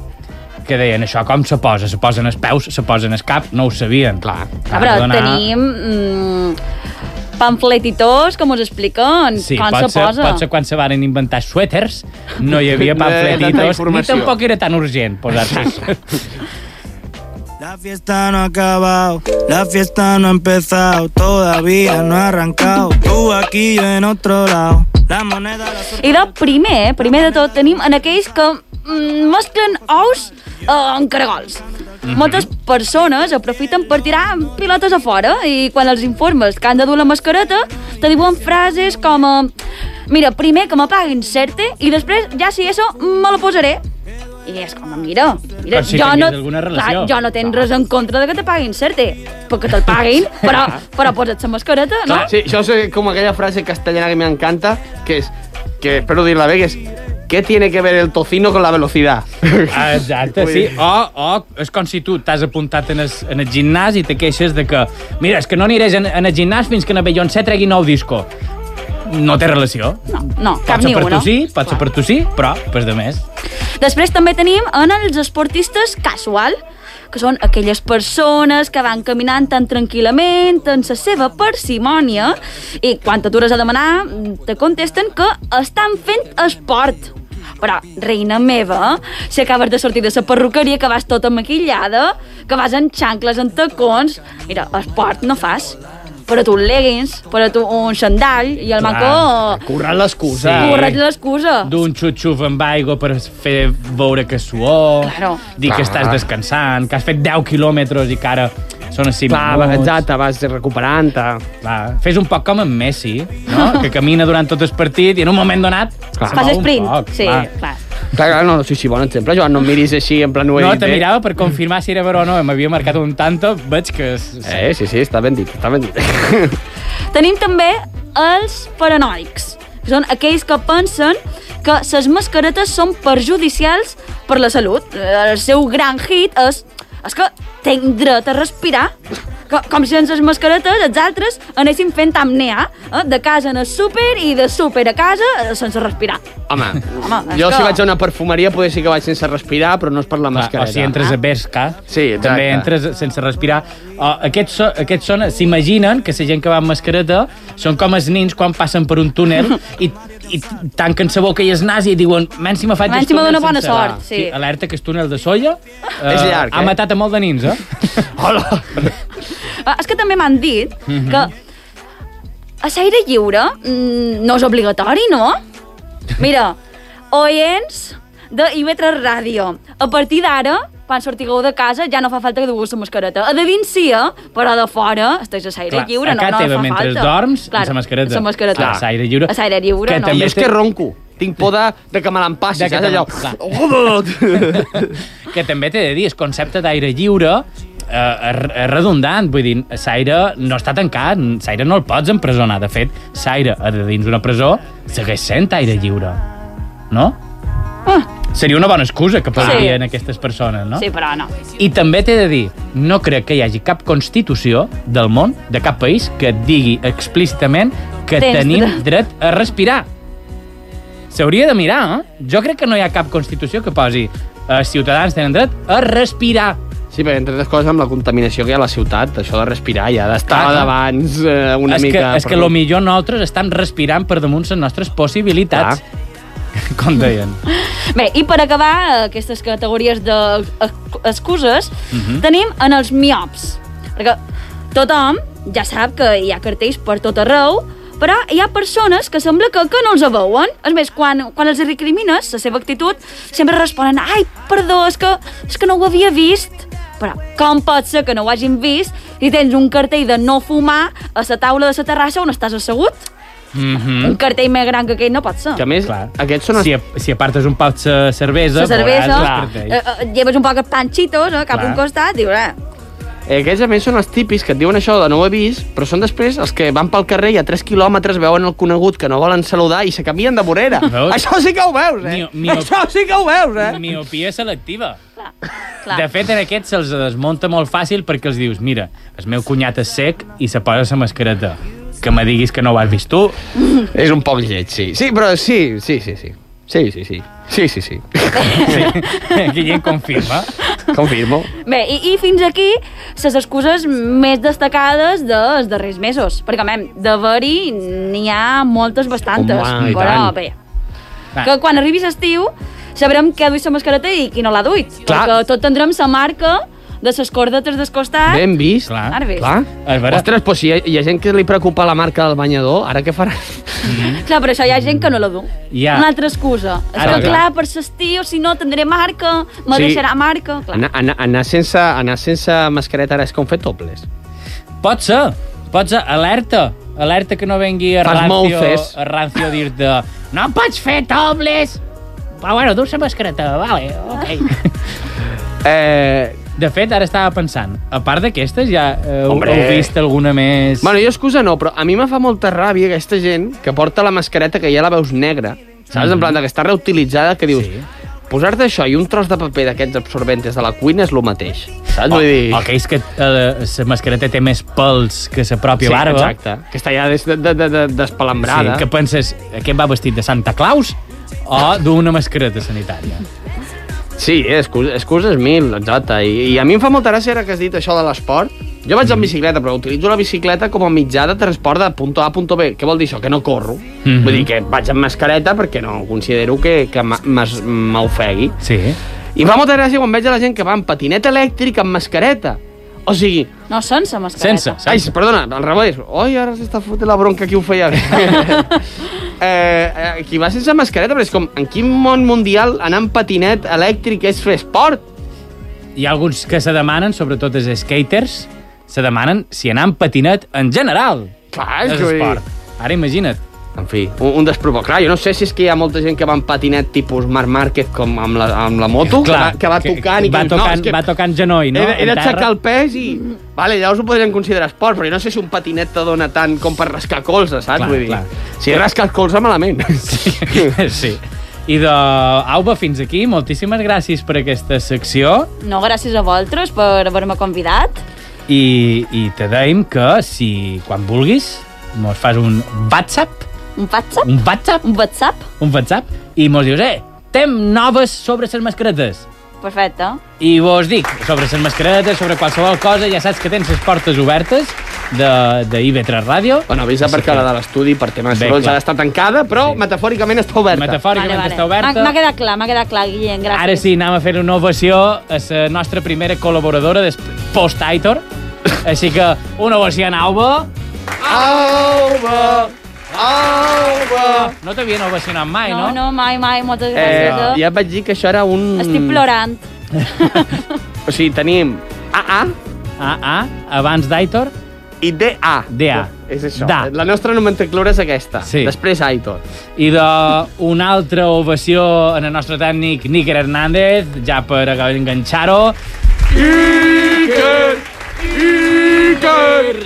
[SPEAKER 4] que deien això com se posa? Se posen els peus, se posen el cap, no ho sabien.
[SPEAKER 5] Clar.
[SPEAKER 6] Ah, però tenim mm, pamfletitors que mos expliquen
[SPEAKER 4] Sí,
[SPEAKER 6] com
[SPEAKER 4] pot
[SPEAKER 6] se
[SPEAKER 4] ser,
[SPEAKER 6] posa.
[SPEAKER 4] pot ser quan se van inventar suèters, no hi havia
[SPEAKER 5] No hi havia tanta
[SPEAKER 4] pamfletitos, ni
[SPEAKER 5] informació.
[SPEAKER 4] tampoc era tan urgent posar-se.
[SPEAKER 8] La fiesta no ha acabado, la fiesta no ha empezado, todavía no ha arrancado. Tú aquí, yo en otro lado. La moneda la sur-
[SPEAKER 6] I de primer, primer de tot, tenim en aquells que mm, mesclen ous eh, amb caragols.
[SPEAKER 4] Mhm.
[SPEAKER 6] Moltes persones aprofiten per tirar pilotes a fora i quan els informes que han de dur la mascareta te diuen frases com eh, mira, primer que m'apaguin certe i després ja si això me la posaré. I és com, mira, mira
[SPEAKER 4] Com si
[SPEAKER 6] jo,
[SPEAKER 4] tingués
[SPEAKER 6] no,
[SPEAKER 4] alguna relació. Ah.
[SPEAKER 6] clar, jo no tens res en contra de que te paguin certe, perquè te'l paguin, però, però posa't la mascareta, no?
[SPEAKER 5] Sí, això és com aquella frase castellana que m'encanta, que és que espero decirla bien, que es ¿qué tiene que ver el tocino con la velocidad?
[SPEAKER 4] Exacte, sí. O, o és com si tu t'has apuntat en el, en el gimnàs i te queixes de que mira, és que no aniràs en, en el gimnàs fins que na Beyoncé tregui nou disco. No té relació.
[SPEAKER 6] No, no cap
[SPEAKER 4] Pot ser
[SPEAKER 6] ni
[SPEAKER 4] per
[SPEAKER 6] una.
[SPEAKER 4] tu sí, pot ser per tu sí, però, pues de més.
[SPEAKER 6] Després també tenim en els esportistes casual, que són aquelles persones que van caminant tan tranquil·lament, en la seva parsimònia, i quan t'atures a demanar, te contesten que estan fent esport. Però, reina meva, si acabes de sortir de la perruqueria, que vas tota maquillada, que vas en xancles, en tacons... Mira, esport no fas. Però tu un leggings, però tu un xandall, i el
[SPEAKER 4] Clar,
[SPEAKER 6] manco...
[SPEAKER 5] Curran l'excusa.
[SPEAKER 4] Sí.
[SPEAKER 6] Correig l'excusa.
[SPEAKER 4] D'un xutxuf amb aigua per fer veure que suor,
[SPEAKER 6] Claro.
[SPEAKER 4] dir que estàs descansant, que has fet 10 quilòmetres i que ara són així
[SPEAKER 5] Clar, exacte, vas recuperant-te.
[SPEAKER 4] Clar, fes un poc com en Messi, no? que camina durant tot el partit i en un moment donat... se'n
[SPEAKER 6] Fas
[SPEAKER 4] va un
[SPEAKER 6] sprint.
[SPEAKER 4] poc,
[SPEAKER 6] sí,
[SPEAKER 4] clar.
[SPEAKER 6] clar.
[SPEAKER 5] Clar, clar, no, sí, sí, bon exemple, Joan, no em miris així, en plan, ho he
[SPEAKER 4] No,
[SPEAKER 5] dit
[SPEAKER 4] te
[SPEAKER 5] bé.
[SPEAKER 4] mirava per confirmar si era vera o no. M'havia marcat un tanto, veig que... és-
[SPEAKER 5] Eh, sí, sí, està ben dit, està ben dit.
[SPEAKER 6] Tenim també els paranoics, que són aquells que pensen que les mascaretes són perjudicials per la salut. Eh, El seu gran hit és, és que tenc dret a respirar. Que, com si sense les mascaretes els altres anéssim fent apnea, eh? de casa en el súper i de súper a casa eh, sense respirar.
[SPEAKER 5] Home, jo
[SPEAKER 6] Home, és
[SPEAKER 5] si
[SPEAKER 6] que-
[SPEAKER 5] vaig a una perfumeria poder sí que vaig sense respirar, però no és per la
[SPEAKER 4] Clar,
[SPEAKER 5] mascareta.
[SPEAKER 4] o si
[SPEAKER 6] Ah.
[SPEAKER 4] entres a Berska,
[SPEAKER 5] Sí, exacte.
[SPEAKER 4] també entres sense respirar. O aquests, so, aquests són, s'imaginen que la gent que va amb mascareta són com els nins quan passen per un túnel i, i tanquen la boca i el nas i diuen men si me faig
[SPEAKER 6] Menys
[SPEAKER 4] el
[SPEAKER 6] si me
[SPEAKER 4] túnel
[SPEAKER 6] dóna bona
[SPEAKER 4] sencer."
[SPEAKER 6] sort,
[SPEAKER 4] Ah,
[SPEAKER 6] sí.
[SPEAKER 4] Alerta que el túnel de Solla eh,
[SPEAKER 5] És llarg,
[SPEAKER 4] ha
[SPEAKER 5] eh?
[SPEAKER 4] matat a molt de nins, eh?
[SPEAKER 5] Hola!
[SPEAKER 6] Ah, És que també m'han dit
[SPEAKER 4] Mhm.
[SPEAKER 6] que a l'aire lliure mm, no és obligatori, no? Mira, oients de IB3 Ràdio, a partir d'ara, quan sortigueu de casa, ja no fa falta que duguis la mascareta. Adevins sí, eh? però de fora estàs a l'aire
[SPEAKER 4] Clar,
[SPEAKER 6] lliure,
[SPEAKER 4] a
[SPEAKER 6] no,
[SPEAKER 4] casa
[SPEAKER 6] no
[SPEAKER 4] teva,
[SPEAKER 6] fa
[SPEAKER 4] mentre
[SPEAKER 6] falta.
[SPEAKER 4] dorms,
[SPEAKER 6] Clar,
[SPEAKER 4] amb la mascareta.
[SPEAKER 6] amb mascareta.
[SPEAKER 4] Clar, a l'aire lliure.
[SPEAKER 6] A l'aire lliure,
[SPEAKER 4] Que
[SPEAKER 6] no.
[SPEAKER 4] també
[SPEAKER 5] I
[SPEAKER 6] També...
[SPEAKER 5] Ah, és que ronco. Tinc por de, de que me l'empassi,
[SPEAKER 4] De que
[SPEAKER 5] saps? Allò...
[SPEAKER 4] te-
[SPEAKER 5] Oh,
[SPEAKER 4] que també t'he de dir, el concepte d'aire lliure eh, és- és redundant, vull dir, l'aire no està tancat, l'aire no el pots empresonar, de fet, l'aire a de dins d'una presó segueix sent aire lliure, no? Ah, Seria una bona excusa que podrien
[SPEAKER 6] Sí.
[SPEAKER 4] aquestes persones, no?
[SPEAKER 6] Sí, però no.
[SPEAKER 4] I també t'he de dir, no crec que hi hagi cap constitució del món, de cap país, que et digui explícitament que
[SPEAKER 6] Tens
[SPEAKER 4] tenim
[SPEAKER 6] dret.
[SPEAKER 4] dret a respirar. S'hauria de mirar, eh? Jo crec que no hi ha cap constitució que posi els ciutadans tenen dret a respirar.
[SPEAKER 5] Sí, perquè entre altres coses amb la contaminació que hi ha a la ciutat, això de respirar ja, d'estar
[SPEAKER 4] Clar, clar.
[SPEAKER 5] d'abans eh, una
[SPEAKER 4] és
[SPEAKER 5] mica...
[SPEAKER 4] que, és que lo millor nosaltres estem respirant per damunt les nostres possibilitats. Com deien.
[SPEAKER 6] Bé, i per acabar eh, aquestes categories d'excuses, tenim en els miops. Perquè tothom ja sap que hi ha cartells per tot arreu, però hi ha persones que sembla que, que no els veuen. És més, quan, quan els recrimines la seva actitud, sempre responen «Ai, perdó, és que, és que no ho havia vist». Però com pot ser que no ho hagin vist i tens un cartell de no fumar a la taula de la terrassa on estàs assegut?
[SPEAKER 4] Mm -hmm.
[SPEAKER 6] Un cartell més gran que aquell no pot ser.
[SPEAKER 5] Que a més, Clar.
[SPEAKER 4] Clar.
[SPEAKER 5] aquests són...
[SPEAKER 4] Si, a- si apartes un pau de cervesa,
[SPEAKER 6] la cervesa,
[SPEAKER 4] veuràs els cartells.
[SPEAKER 6] eh, eh, lleves un poc els panxitos eh, cap
[SPEAKER 4] Clar.
[SPEAKER 6] a un costat, dius, eh,
[SPEAKER 5] Eh, Aquests, a més, són els típics que et diuen això de no ho he vist, però són després els que van pel carrer i a 3 quilòmetres veuen el conegut que no volen saludar i se canvien de vorera.
[SPEAKER 4] Veus?
[SPEAKER 5] Això sí que ho veus, eh?
[SPEAKER 4] Mio- mio-
[SPEAKER 5] Això sí que ho veus, eh?
[SPEAKER 4] Miopia selectiva.
[SPEAKER 6] clar,
[SPEAKER 4] Clar. De fet, en aquest se'ls desmunta molt fàcil perquè els dius, mira, el meu cunyat és sec i se posa la mascareta. Que me diguis que no ho has vist tu.
[SPEAKER 5] És un poc lleig, sí. Sí, però sí, sí, sí, sí. Sí, sí, sí. Sí, sí, sí.
[SPEAKER 4] Sí. Guillem confirma.
[SPEAKER 5] Confirmo.
[SPEAKER 6] Bé, i, i fins aquí les excuses més destacades dels darrers mesos. Perquè, mem, d'haver-hi n'hi ha moltes bastantes.
[SPEAKER 5] Home, i
[SPEAKER 6] però,
[SPEAKER 5] tant.
[SPEAKER 6] bé, que quan arribis estiu sabrem què ha duit la mascareta i qui no l'ha duit.
[SPEAKER 5] Clar.
[SPEAKER 6] Perquè tot tindrem la marca de les cordetes del costat.
[SPEAKER 5] Ben vist.
[SPEAKER 4] Ah. Clar.
[SPEAKER 6] Ara bé.
[SPEAKER 5] Clar.
[SPEAKER 4] És vera.
[SPEAKER 5] Ostres, però si hi ha, hi ha gent que li preocupa la marca del banyador, ara què farà?
[SPEAKER 6] Clar, però això hi ha gent que no la du.
[SPEAKER 4] Ja.
[SPEAKER 6] Una altra excusa. És
[SPEAKER 4] Ara,
[SPEAKER 6] que,
[SPEAKER 4] clar.
[SPEAKER 6] clar, per l'estiu, si no, tindré marca, me
[SPEAKER 5] Sí.
[SPEAKER 6] deixarà marca. Clar.
[SPEAKER 5] Anar, anar, anar, sense, anar sense mascareta ara és com fer tobles.
[SPEAKER 4] Pot ser, pot ser. Alerta. Alerta que no vengui a
[SPEAKER 5] Fas
[SPEAKER 4] rancio,
[SPEAKER 5] mouzes.
[SPEAKER 4] a rancio a dir-te no pots fer tobles. Però bueno, dur la mascareta, vale, ok.
[SPEAKER 5] Eh,
[SPEAKER 4] De fet, ara estava pensant, a part d'aquestes, ja eh, heu,
[SPEAKER 5] Hombre.
[SPEAKER 4] heu vist alguna més...
[SPEAKER 5] bueno, jo excusa no, però a mi me fa molta ràbia aquesta gent que porta la mascareta que ja la veus negra Saps? En plan, de que està reutilitzada, que dius...
[SPEAKER 4] Mm-hmm. Sí.
[SPEAKER 5] Sí. Posar-te això i un tros de paper d'aquests absorbentes de la cuina és el mateix. Saps?
[SPEAKER 4] O,
[SPEAKER 5] Vull dir...
[SPEAKER 4] o aquells Oh, que eh, la mascareta té més pèls que la pròpia
[SPEAKER 5] Sí,
[SPEAKER 4] barba.
[SPEAKER 5] exacte. Que està ja des, de, de, de, de,
[SPEAKER 4] Sí,
[SPEAKER 5] despalambrada.
[SPEAKER 4] que penses, aquest va vestit de Santa Claus o d'una mascareta sanitària?
[SPEAKER 5] Sí, excuses, excuses mil, exacte. I, I a mi em fa molta gràcia ara que has dit això de l'esport. Jo
[SPEAKER 4] Mm.
[SPEAKER 5] vaig amb bicicleta, però utilitzo la bicicleta com a mitjà de transport de punt A a punt B. Què vol dir això? Que no corro.
[SPEAKER 4] Mhm.
[SPEAKER 5] Vull dir que vaig amb mascareta perquè no considero que, que m'ha- m'es- m'ofegui.
[SPEAKER 4] Sí.
[SPEAKER 5] I em fa molta gràcia quan veig a la gent que va amb patinet elèctric amb mascareta. O sigui,
[SPEAKER 6] No, sense mascareta.
[SPEAKER 4] Sense.
[SPEAKER 5] Ai, perdona, al revés. Oi, ara s'està fotent la bronca qui ho feia bé. eh, eh, qui va sense mascareta, però és com, en quin món mundial anar amb patinet elèctric és fer esport?
[SPEAKER 4] Hi ha alguns que se demanen, sobretot els skaters, se demanen si anar amb patinet en general
[SPEAKER 5] Clar, és
[SPEAKER 4] és
[SPEAKER 5] que vull dir-
[SPEAKER 4] esport. Ara imagina't.
[SPEAKER 5] En fi, un, un despropòsit. Clar, jo no sé si és que hi ha molta gent que va amb patinet tipus Marc Márquez com amb la, amb la moto,
[SPEAKER 4] Clar,
[SPEAKER 5] que, va, que va tocant...
[SPEAKER 4] que,
[SPEAKER 5] i
[SPEAKER 4] va
[SPEAKER 5] que, dius,
[SPEAKER 4] tocant,
[SPEAKER 5] no, és que
[SPEAKER 4] va tocant genoll, no?
[SPEAKER 5] He, de- he
[SPEAKER 4] En
[SPEAKER 5] d'aixecar
[SPEAKER 4] terra.
[SPEAKER 5] el pes i... Vale, llavors ho podrien considerar esport, però jo no sé si un patinet te dona tant com per rascar colze, saps?
[SPEAKER 4] Clar,
[SPEAKER 5] vull dir,
[SPEAKER 4] clar.
[SPEAKER 5] si rasca el colze, malament.
[SPEAKER 4] Sí. sí. I de... Auba, fins aquí. Moltíssimes gràcies per aquesta secció.
[SPEAKER 6] No, gràcies a vosaltres per haver-me convidat.
[SPEAKER 4] I, i te deim que si quan vulguis mos fas un WhatsApp,
[SPEAKER 6] Un WhatsApp?
[SPEAKER 4] un WhatsApp,
[SPEAKER 6] Un WhatsApp?
[SPEAKER 4] un WhatsApp, i mos dius, eh, tem noves sobre les mascaretes.
[SPEAKER 6] Perfecte.
[SPEAKER 4] I vos dic, sobre les mascaretes, sobre qualsevol cosa, ja saps que tens les portes obertes de, de IB3 Ràdio.
[SPEAKER 5] Bueno, avisa
[SPEAKER 4] Sí,
[SPEAKER 5] perquè
[SPEAKER 4] sí.
[SPEAKER 5] la de l'estudi per temes
[SPEAKER 4] Bé,
[SPEAKER 5] de sorolls
[SPEAKER 4] clar.
[SPEAKER 5] ha d'estar tancada, però
[SPEAKER 4] Sí.
[SPEAKER 5] metafòricament està oberta.
[SPEAKER 4] Metafòricament està oberta.
[SPEAKER 6] M'ha- M'ha quedat clar, m'ha quedat clar, Guillem, gràcies.
[SPEAKER 4] Ara sí, anem a fer una ovació a la nostra primera col·laboradora des- post-Aitor. Així que una ovació en Alba.
[SPEAKER 5] Auba! Auba!
[SPEAKER 4] No t'havien ovacionat mai, no?
[SPEAKER 6] No, no, mai, mai, moltes
[SPEAKER 5] Eh,
[SPEAKER 6] gràcies. Eh,
[SPEAKER 5] ja et vaig dir que això era un...
[SPEAKER 4] Mm.
[SPEAKER 6] Estic plorant.
[SPEAKER 5] O sigui, tenim AA
[SPEAKER 4] Ah, ah, abans d'Aitor.
[SPEAKER 5] i DA.
[SPEAKER 4] DA.
[SPEAKER 5] És això.
[SPEAKER 4] Da.
[SPEAKER 5] La nostra nomenclatura és aquesta.
[SPEAKER 4] Sí.
[SPEAKER 5] Després Aitor.
[SPEAKER 4] I d'una altra ovació en el nostre tècnic Níker Hernández, ja per enganxar-ho. Níker! Níker!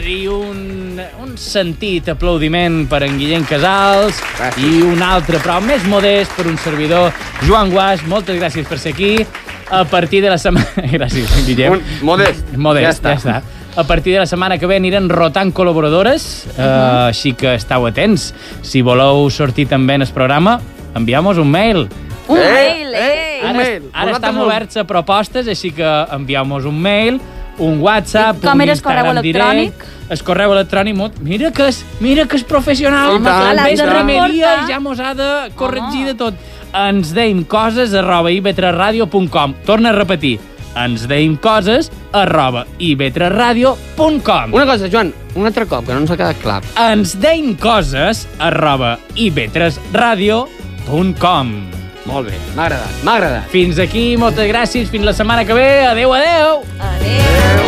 [SPEAKER 4] I un, un sentit aplaudiment per en Guillem Casals
[SPEAKER 5] Gràcies.
[SPEAKER 4] i un altre, però més modest, per un servidor, Joan Guas. Moltes gràcies per ser aquí. A partir de la setmana... Gràcies, Guillem.
[SPEAKER 5] Un, modest.
[SPEAKER 4] Modest, ja està. ja està. A partir de la setmana que ve aniran rotant col·laboradores, eh, així que esteu atents. Si voleu sortir també en el programa, enviam-nos un mail.
[SPEAKER 6] Un
[SPEAKER 5] Eh,
[SPEAKER 6] mail,
[SPEAKER 5] eh,
[SPEAKER 6] eh!
[SPEAKER 5] Un
[SPEAKER 4] Ara,
[SPEAKER 5] mail.
[SPEAKER 4] ara
[SPEAKER 5] Vosaltres
[SPEAKER 4] estan
[SPEAKER 5] no-
[SPEAKER 4] oberts a propostes, així que envieu-nos un mail, un WhatsApp,
[SPEAKER 6] I com
[SPEAKER 4] un
[SPEAKER 6] era el correu
[SPEAKER 4] Instagram
[SPEAKER 6] electrònic?
[SPEAKER 4] direct, el correu electrònic, molt- mira que és, mira que és professional,
[SPEAKER 5] Home, clar,
[SPEAKER 4] Ve
[SPEAKER 5] l'has
[SPEAKER 4] de
[SPEAKER 5] de
[SPEAKER 4] remeria i
[SPEAKER 6] reportar.
[SPEAKER 4] ja mos ha de corregir de tot. Ens deim coses arroba ib3radio.com. Torna a repetir, ens deim coses arroba ib3radio.com.
[SPEAKER 5] Una cosa, Joan, un altre cop, que no ens ha quedat clar.
[SPEAKER 4] Ens deim coses arroba ib3radio.com.
[SPEAKER 5] Molt bé, m'ha agradat, m'ha agradat.
[SPEAKER 4] Fins aquí, moltes gràcies, fins la setmana que ve. Adeu, adeu!
[SPEAKER 6] Adéu!